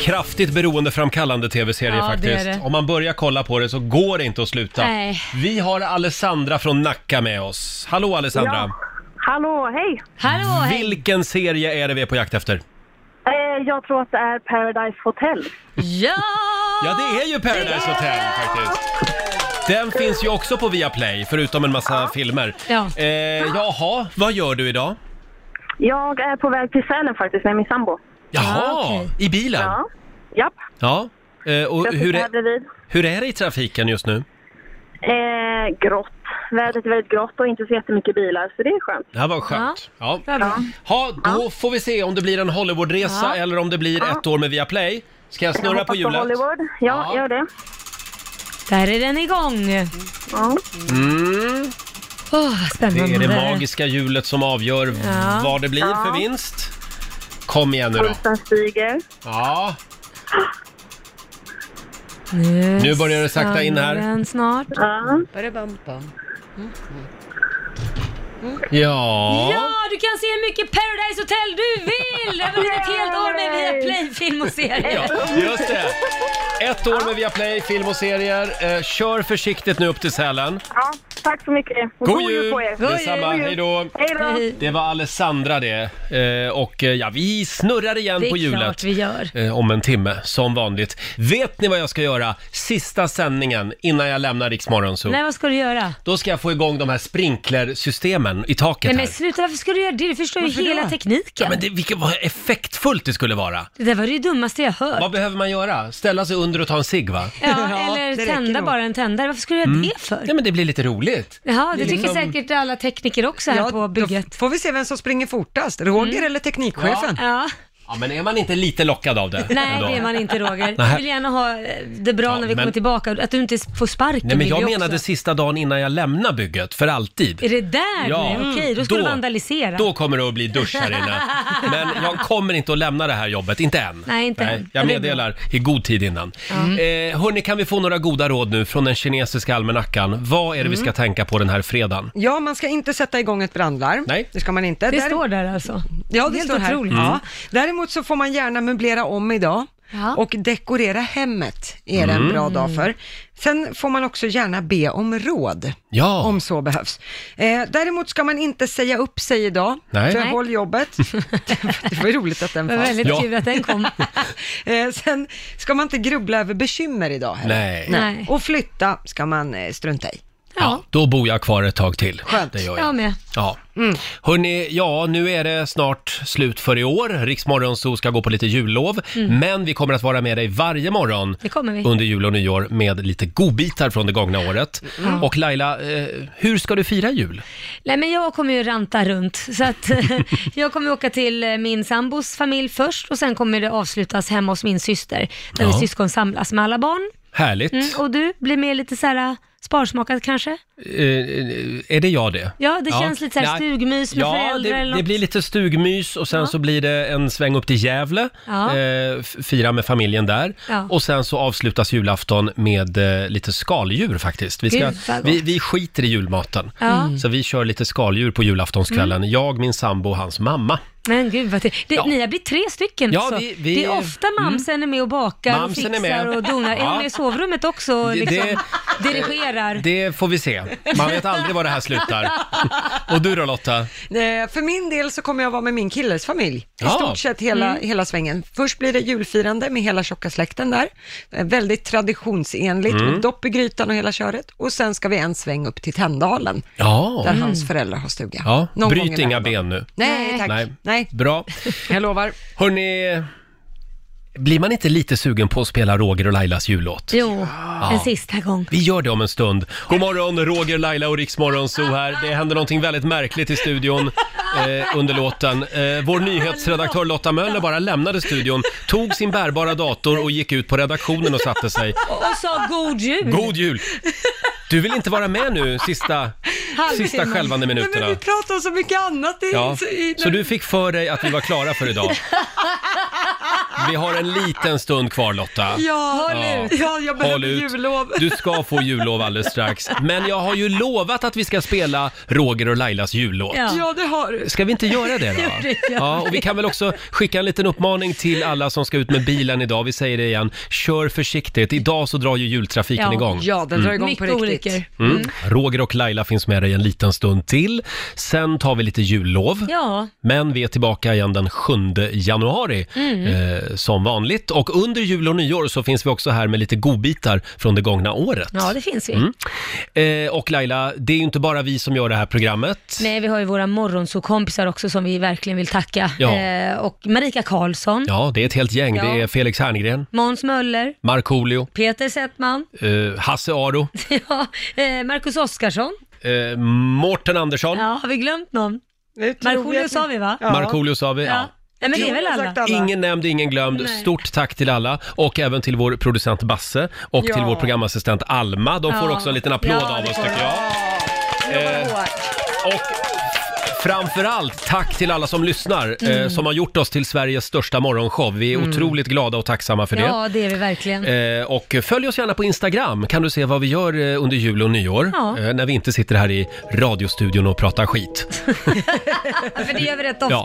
Speaker 1: Kraftigt beroendeframkallande tv-serie
Speaker 5: Ja, det är
Speaker 1: faktiskt.
Speaker 5: det.
Speaker 1: Om man börjar kolla på det så går det inte att sluta.
Speaker 5: Nej.
Speaker 1: Vi har Alessandra från Nacka med oss. Hallå Alessandra!
Speaker 17: Ja. Hallå, hej!
Speaker 5: Hallå,
Speaker 1: Vilken serie är det vi är på jakt efter?
Speaker 17: Eh, jag tror att det är Paradise Hotel.
Speaker 5: Ja!
Speaker 1: Ja, det är ju Paradise Hotel faktiskt. Den finns ju också på Viaplay, förutom en massa filmer.
Speaker 17: Ja.
Speaker 1: Eh, jaha, vad gör du idag?
Speaker 17: Jag är på väg till Sälen faktiskt med min sambo.
Speaker 1: Jaha, i bilen?
Speaker 17: Ja. Japp.
Speaker 1: Ja. Eh, och
Speaker 17: jag
Speaker 1: hur
Speaker 17: sitter
Speaker 1: är,
Speaker 17: här bredvid.
Speaker 1: hur är det i trafiken just nu?
Speaker 17: Eh, grått. Vädret är väldigt grått och inte så jättemycket bilar, så det är skönt.
Speaker 1: Det här var skönt. Ja. Ha, då får vi se om det blir en Hollywoodresa
Speaker 17: Ja.
Speaker 1: eller om det blir ett år med Viaplay. Ska jag snurra
Speaker 17: jag
Speaker 1: på
Speaker 17: hoppas
Speaker 1: hjulet?
Speaker 17: Hollywood. Ja, gör det.
Speaker 5: Där är den igång.
Speaker 17: Ja.
Speaker 1: Mm.
Speaker 5: Åh, vad
Speaker 1: Det
Speaker 5: spännande.
Speaker 1: är det magiska hjulet som avgör
Speaker 5: Ja.
Speaker 1: vad det blir
Speaker 17: Mm. Ja.
Speaker 1: för vinst. Kom igen nu då.
Speaker 17: Pulsen stiger.
Speaker 1: Ja,
Speaker 5: Nu,
Speaker 1: Nu börjar det sakta in här.
Speaker 5: stannar Den snart.
Speaker 17: Ja.
Speaker 1: ja.
Speaker 5: Ja, du kan se hur mycket Paradise Hotel du vill! Över ett helt år med Viaplay film och serier.
Speaker 1: Just det! Ett år med Viaplay, film och serier. Eh, kör försiktigt nu upp till Sälen.
Speaker 17: Ja, tack så mycket. Och
Speaker 1: God jul
Speaker 17: på er.
Speaker 1: Detsamma, hej då!
Speaker 17: Hej då.
Speaker 1: Det var Alessandra det. Eh, och eh, ja, vi snurrar igen
Speaker 5: Det är
Speaker 1: på hjulet.
Speaker 5: klart vi gör.
Speaker 1: Eh, om en timme, som vanligt. Vet ni vad jag ska göra sista sändningen innan jag lämnar Riksmorgon så?
Speaker 5: Nej, vad ska du göra?
Speaker 1: Då ska jag få igång de här sprinklersystemen i taket
Speaker 5: Nej men
Speaker 1: här.
Speaker 5: sluta, varför skulle du göra det? Du förstår ju
Speaker 1: Varför
Speaker 5: hela
Speaker 1: då?
Speaker 5: tekniken.
Speaker 1: Ja, men det, vilket, vad effektfullt det skulle vara!
Speaker 5: Det där var det dummaste jag hört.
Speaker 1: Vad behöver man göra? Ställa sig under och ta en cigg va?
Speaker 5: Ja, eller tända bara en tändare. Varför skulle du göra det för?
Speaker 1: Nej men det blir lite roligt.
Speaker 5: Jaha, det
Speaker 1: Mm. Det är
Speaker 5: tycker
Speaker 1: liksom-
Speaker 5: säkert alla tekniker också här på bygget. Mm.
Speaker 2: Får vi se vem som springer fortast, Roger eller teknikchefen?
Speaker 5: Ja.
Speaker 1: Ja, men är man inte lite lockad av det?
Speaker 5: Nej,
Speaker 1: ändå?
Speaker 5: det är man inte Roger.
Speaker 1: Nej.
Speaker 5: Vi vill gärna ha eh, det bra när vi
Speaker 1: men-
Speaker 5: kommer tillbaka. Att du inte får sparken
Speaker 1: Nej, men
Speaker 5: vill
Speaker 1: jag
Speaker 5: vi
Speaker 1: menade
Speaker 5: också.
Speaker 1: sista dagen innan jag lämnar bygget, för alltid.
Speaker 5: Är det där
Speaker 1: Ja.
Speaker 5: nu? Okej, då ska du
Speaker 1: Då-
Speaker 5: vandalisera.
Speaker 1: Då kommer det att bli dusch här inne. Men jag kommer inte att lämna det här jobbet, inte än.
Speaker 5: Nej, inte än. Ja,
Speaker 1: Jag
Speaker 5: det är
Speaker 1: meddelar i god tid innan.
Speaker 2: Mm.
Speaker 1: Eh, hörni, kan vi få några goda råd nu från den kinesiska almanackan? Vad är det vi
Speaker 2: Mm.
Speaker 1: ska tänka på den här fredagen?
Speaker 2: Ja, man ska inte sätta igång ett brandlarm.
Speaker 1: Nej.
Speaker 2: Det ska man inte.
Speaker 5: Det står där alltså?
Speaker 2: Ja, det
Speaker 5: Helt
Speaker 2: står här.
Speaker 5: otroligt.
Speaker 2: Ja. Däremot så får man gärna möblera om idag. Och dekorera hemmet är det en
Speaker 1: Mm.
Speaker 2: bra dag för. Sen får man också gärna be om råd,
Speaker 1: Ja.
Speaker 2: om så behövs. Eh, däremot ska man inte säga upp sig idag,
Speaker 1: Nej.
Speaker 2: för
Speaker 1: Nej.
Speaker 2: håll jobbet. det var ju roligt att den
Speaker 5: Det var
Speaker 2: fanns.
Speaker 5: väldigt Ja. kul att den kom.
Speaker 2: eh, sen ska man inte grubbla över bekymmer idag heller.
Speaker 1: Nej. Nej.
Speaker 2: Och flytta ska man eh, strunta i.
Speaker 1: Ja, då bor jag kvar ett tag till.
Speaker 2: Skönt.
Speaker 1: Det gör
Speaker 2: Jag
Speaker 1: jag.
Speaker 2: med.
Speaker 1: Ja. Hörni, ja, nu är det snart slut för i år. Riksmorgonzoo ska gå på lite jullov,
Speaker 5: Mm.
Speaker 1: men vi kommer att vara med dig varje morgon
Speaker 5: Det kommer vi.
Speaker 1: under jul och nyår med lite godbitar från det gångna året.
Speaker 5: Mm.
Speaker 1: Och Laila, eh, hur ska du fira jul?
Speaker 5: Nej men jag kommer ju ranta runt så att jag kommer åka till eh, min sambos familj först och sen kommer det avslutas hemma hos min syster där vi
Speaker 1: Ja.
Speaker 5: syskon samlas med alla barn.
Speaker 1: Härligt.
Speaker 5: Mm, och du blir mer lite så här eh, sparsmakad kanske?
Speaker 1: Eh, är det jag det?
Speaker 5: Ja, det känns lite så här
Speaker 1: Nej.
Speaker 5: stugmys med
Speaker 1: ja,
Speaker 5: föräldrar
Speaker 1: det,
Speaker 5: eller
Speaker 1: det
Speaker 5: något.
Speaker 1: blir lite stugmys och sen så blir det en sväng upp till Gävle,
Speaker 5: Ja.
Speaker 1: eh, f- fira med familjen där.
Speaker 5: Ja.
Speaker 1: Och sen så avslutas julafton med eh, lite skaldjur faktiskt. Vi, ska,
Speaker 5: Gud, vad gott.
Speaker 1: vi, vi skiter i julmaten,
Speaker 5: Ja. Mm.
Speaker 1: så vi kör lite skaldjur på julaftonskvällen. Jag, min sambo och hans mamma.
Speaker 5: Men gud vad det, det, Ni har blivit tre stycken
Speaker 1: Ja,
Speaker 5: alltså.
Speaker 1: vi- vi- Mm.
Speaker 5: det är ofta mamsen är med och bakar och
Speaker 1: Mamsen är
Speaker 5: fixar
Speaker 1: med.
Speaker 5: och donar. Är
Speaker 1: Ja.
Speaker 5: hon med i sovrummet också och
Speaker 1: Det- det-
Speaker 5: liksom dirigerar?
Speaker 1: Det får vi se. Man vet aldrig var det här slutar. Och du då Lotta?
Speaker 2: Eh, För min del så kommer jag vara med min killes familj.
Speaker 1: Ja.
Speaker 2: I stort sett hela,
Speaker 1: Mm.
Speaker 2: hela svängen. Först blir det julfirande med hela tjocka släkten där. Eh, Väldigt traditionsenligt
Speaker 1: Mm.
Speaker 2: med dopp i grytan och hela köret. Och sen ska vi en sväng upp till Tänndalen.
Speaker 1: Ja.
Speaker 2: Där
Speaker 1: Mm.
Speaker 2: hans föräldrar har stuga.
Speaker 1: Ja,
Speaker 2: Någon gång
Speaker 1: bryt
Speaker 2: emellan.
Speaker 1: inga ben nu.
Speaker 2: Nej, tack. Nej.
Speaker 1: Bra.
Speaker 2: Jag lovar.
Speaker 1: Hörni, blir man inte lite sugen på att spela Roger och Lailas jullåt?
Speaker 5: Jo,
Speaker 1: Ja.
Speaker 5: en sista gång.
Speaker 1: Vi gör det om en stund. God morgon, Roger, Laila och Riksmorgon
Speaker 2: Ah,
Speaker 1: Zoo här. Det händer någonting väldigt märkligt i studion eh, under låten. Eh, vår nyhetsredaktör Lotta Möller bara lämnade studion, tog sin bärbara dator och gick ut på redaktionen och satte sig.
Speaker 5: Och sa god jul.
Speaker 1: God jul! Du vill inte vara med nu sista,
Speaker 2: Halvtimmen.
Speaker 1: sista skälvande
Speaker 2: Nej,
Speaker 1: minuterna.
Speaker 2: men vi pratar om så mycket annat. I,
Speaker 1: Ja,
Speaker 2: i,
Speaker 1: så du fick för dig att vi var klara för idag. Vi har en liten stund kvar Lotta.
Speaker 2: Ja,
Speaker 1: Ja.
Speaker 2: ja, jag behöver
Speaker 1: Håll ut.
Speaker 2: jullov.
Speaker 1: Du ska få jullov alldeles strax. Men jag har ju lovat att vi ska spela Roger och Lailas jullåt.
Speaker 2: Ja. det har du.
Speaker 1: Ska vi inte göra det
Speaker 2: Jo,
Speaker 1: då?
Speaker 2: det gör
Speaker 1: Ja, och vi kan väl också skicka en liten uppmaning till alla som ska ut med bilen idag. Vi säger det igen, kör försiktigt. Idag så drar ju jultrafiken
Speaker 5: Ja.
Speaker 1: igång.
Speaker 5: Ja, den drar igång på Mycket riktigt. olyckor. Mm.
Speaker 1: Mm. Roger och Laila finns med dig en liten stund till. Sen tar vi lite jullov.
Speaker 5: Ja.
Speaker 1: Men vi är tillbaka igen den 7 januari
Speaker 5: Mm.
Speaker 1: eh, som vanligt. Och under jul och nyår så finns vi också här med lite godbitar från det gångna året.
Speaker 5: Ja, det finns vi.
Speaker 1: Mm. Eh, och Laila, det är ju inte bara vi som gör det här programmet.
Speaker 5: Nej, vi har ju våra morgonsokompisar också som vi verkligen vill tacka.
Speaker 1: Ja.
Speaker 5: Eh, och Marika Karlsson,
Speaker 1: Ja, det är ett helt gäng.
Speaker 5: Ja.
Speaker 1: Det är Felix Herngren,
Speaker 5: Måns Möller,
Speaker 1: Markoolio,
Speaker 5: Peter Settman,
Speaker 1: eh, Hasse Aro,
Speaker 5: ja, eh, Marcus Oskarsson.
Speaker 1: eh, Mårten Andersson,
Speaker 5: Ja, har vi glömt någon? Markoolio sa vi va?
Speaker 1: Markoolio sa vi. Ja.
Speaker 5: Nej, men det är väl alla?
Speaker 1: Ingen nämnd, ingen glömd.
Speaker 5: Nej.
Speaker 1: Stort tack till alla och även till vår producent Basse och
Speaker 5: Ja.
Speaker 1: till vår programassistent Alma. De får
Speaker 5: Ja.
Speaker 1: också en liten applåd
Speaker 5: Ja,
Speaker 1: av
Speaker 5: det
Speaker 1: oss
Speaker 5: får
Speaker 1: tycker jag. Eh, och framförallt tack till alla som lyssnar eh,
Speaker 5: Mm.
Speaker 1: som har gjort oss till Sveriges största morgonshow. Vi är
Speaker 5: Mm.
Speaker 1: otroligt glada och tacksamma för det.
Speaker 5: Ja, det är vi verkligen.
Speaker 1: Eh, och följ oss gärna på Instagram, kan du se vad vi gör eh, under jul och nyår.
Speaker 5: Ja.
Speaker 1: Eh, när vi inte sitter här i radiostudion och pratar skit.
Speaker 5: För det gör vi rätt ofta.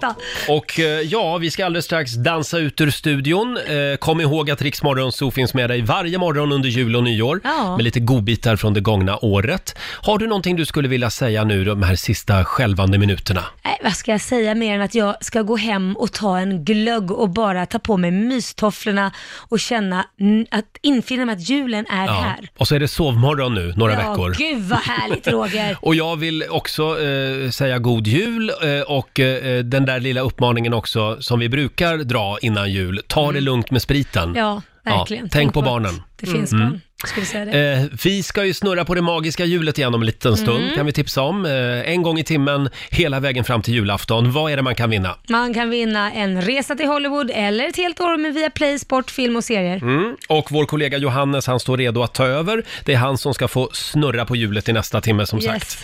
Speaker 1: Ja. Och eh, ja, vi ska alldeles strax dansa ut ur studion. Eh, Kom ihåg att Rix Morgonzoo finns med dig varje morgon under jul och nyår.
Speaker 5: Ja.
Speaker 1: Med lite godbitar från det gångna året. Har du någonting du skulle vilja säga nu de här sista skälvande minuterna?
Speaker 5: Nej, vad ska jag säga mer än att jag ska gå hem och ta en glögg och bara ta på mig mystofflorna och känna mm, att infinna mig att julen är här.
Speaker 1: Och så är det sovmorgon nu, några
Speaker 5: ja,
Speaker 1: veckor.
Speaker 5: Gud vad härligt Roger.
Speaker 1: Och jag vill också eh, säga god jul eh, och eh, den där lilla uppmaningen också som vi brukar dra innan jul. Ta det lugnt med spriten.
Speaker 5: Mm. Ja, verkligen.
Speaker 1: tänk, på barnen. Mm.
Speaker 5: att Det finns barn. Ska vi säga det?
Speaker 1: Eh, vi ska ju snurra på det magiska hjulet igen om en liten stund,
Speaker 5: Mm.
Speaker 1: kan vi tipsa om. Eh, en gång i timmen, hela vägen fram till julafton. Vad är det man kan vinna?
Speaker 5: Man kan vinna en resa till Hollywood eller ett helt år med via Play Sport, film och serier.
Speaker 1: Mm. Och vår kollega Johannes, han står redo att ta över. Det är han som ska få snurra på hjulet i nästa timme, som
Speaker 5: Yes.
Speaker 1: sagt.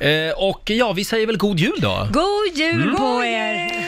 Speaker 1: Eh, och ja, vi säger väl god jul då?
Speaker 5: God jul
Speaker 1: Mm.
Speaker 5: på er!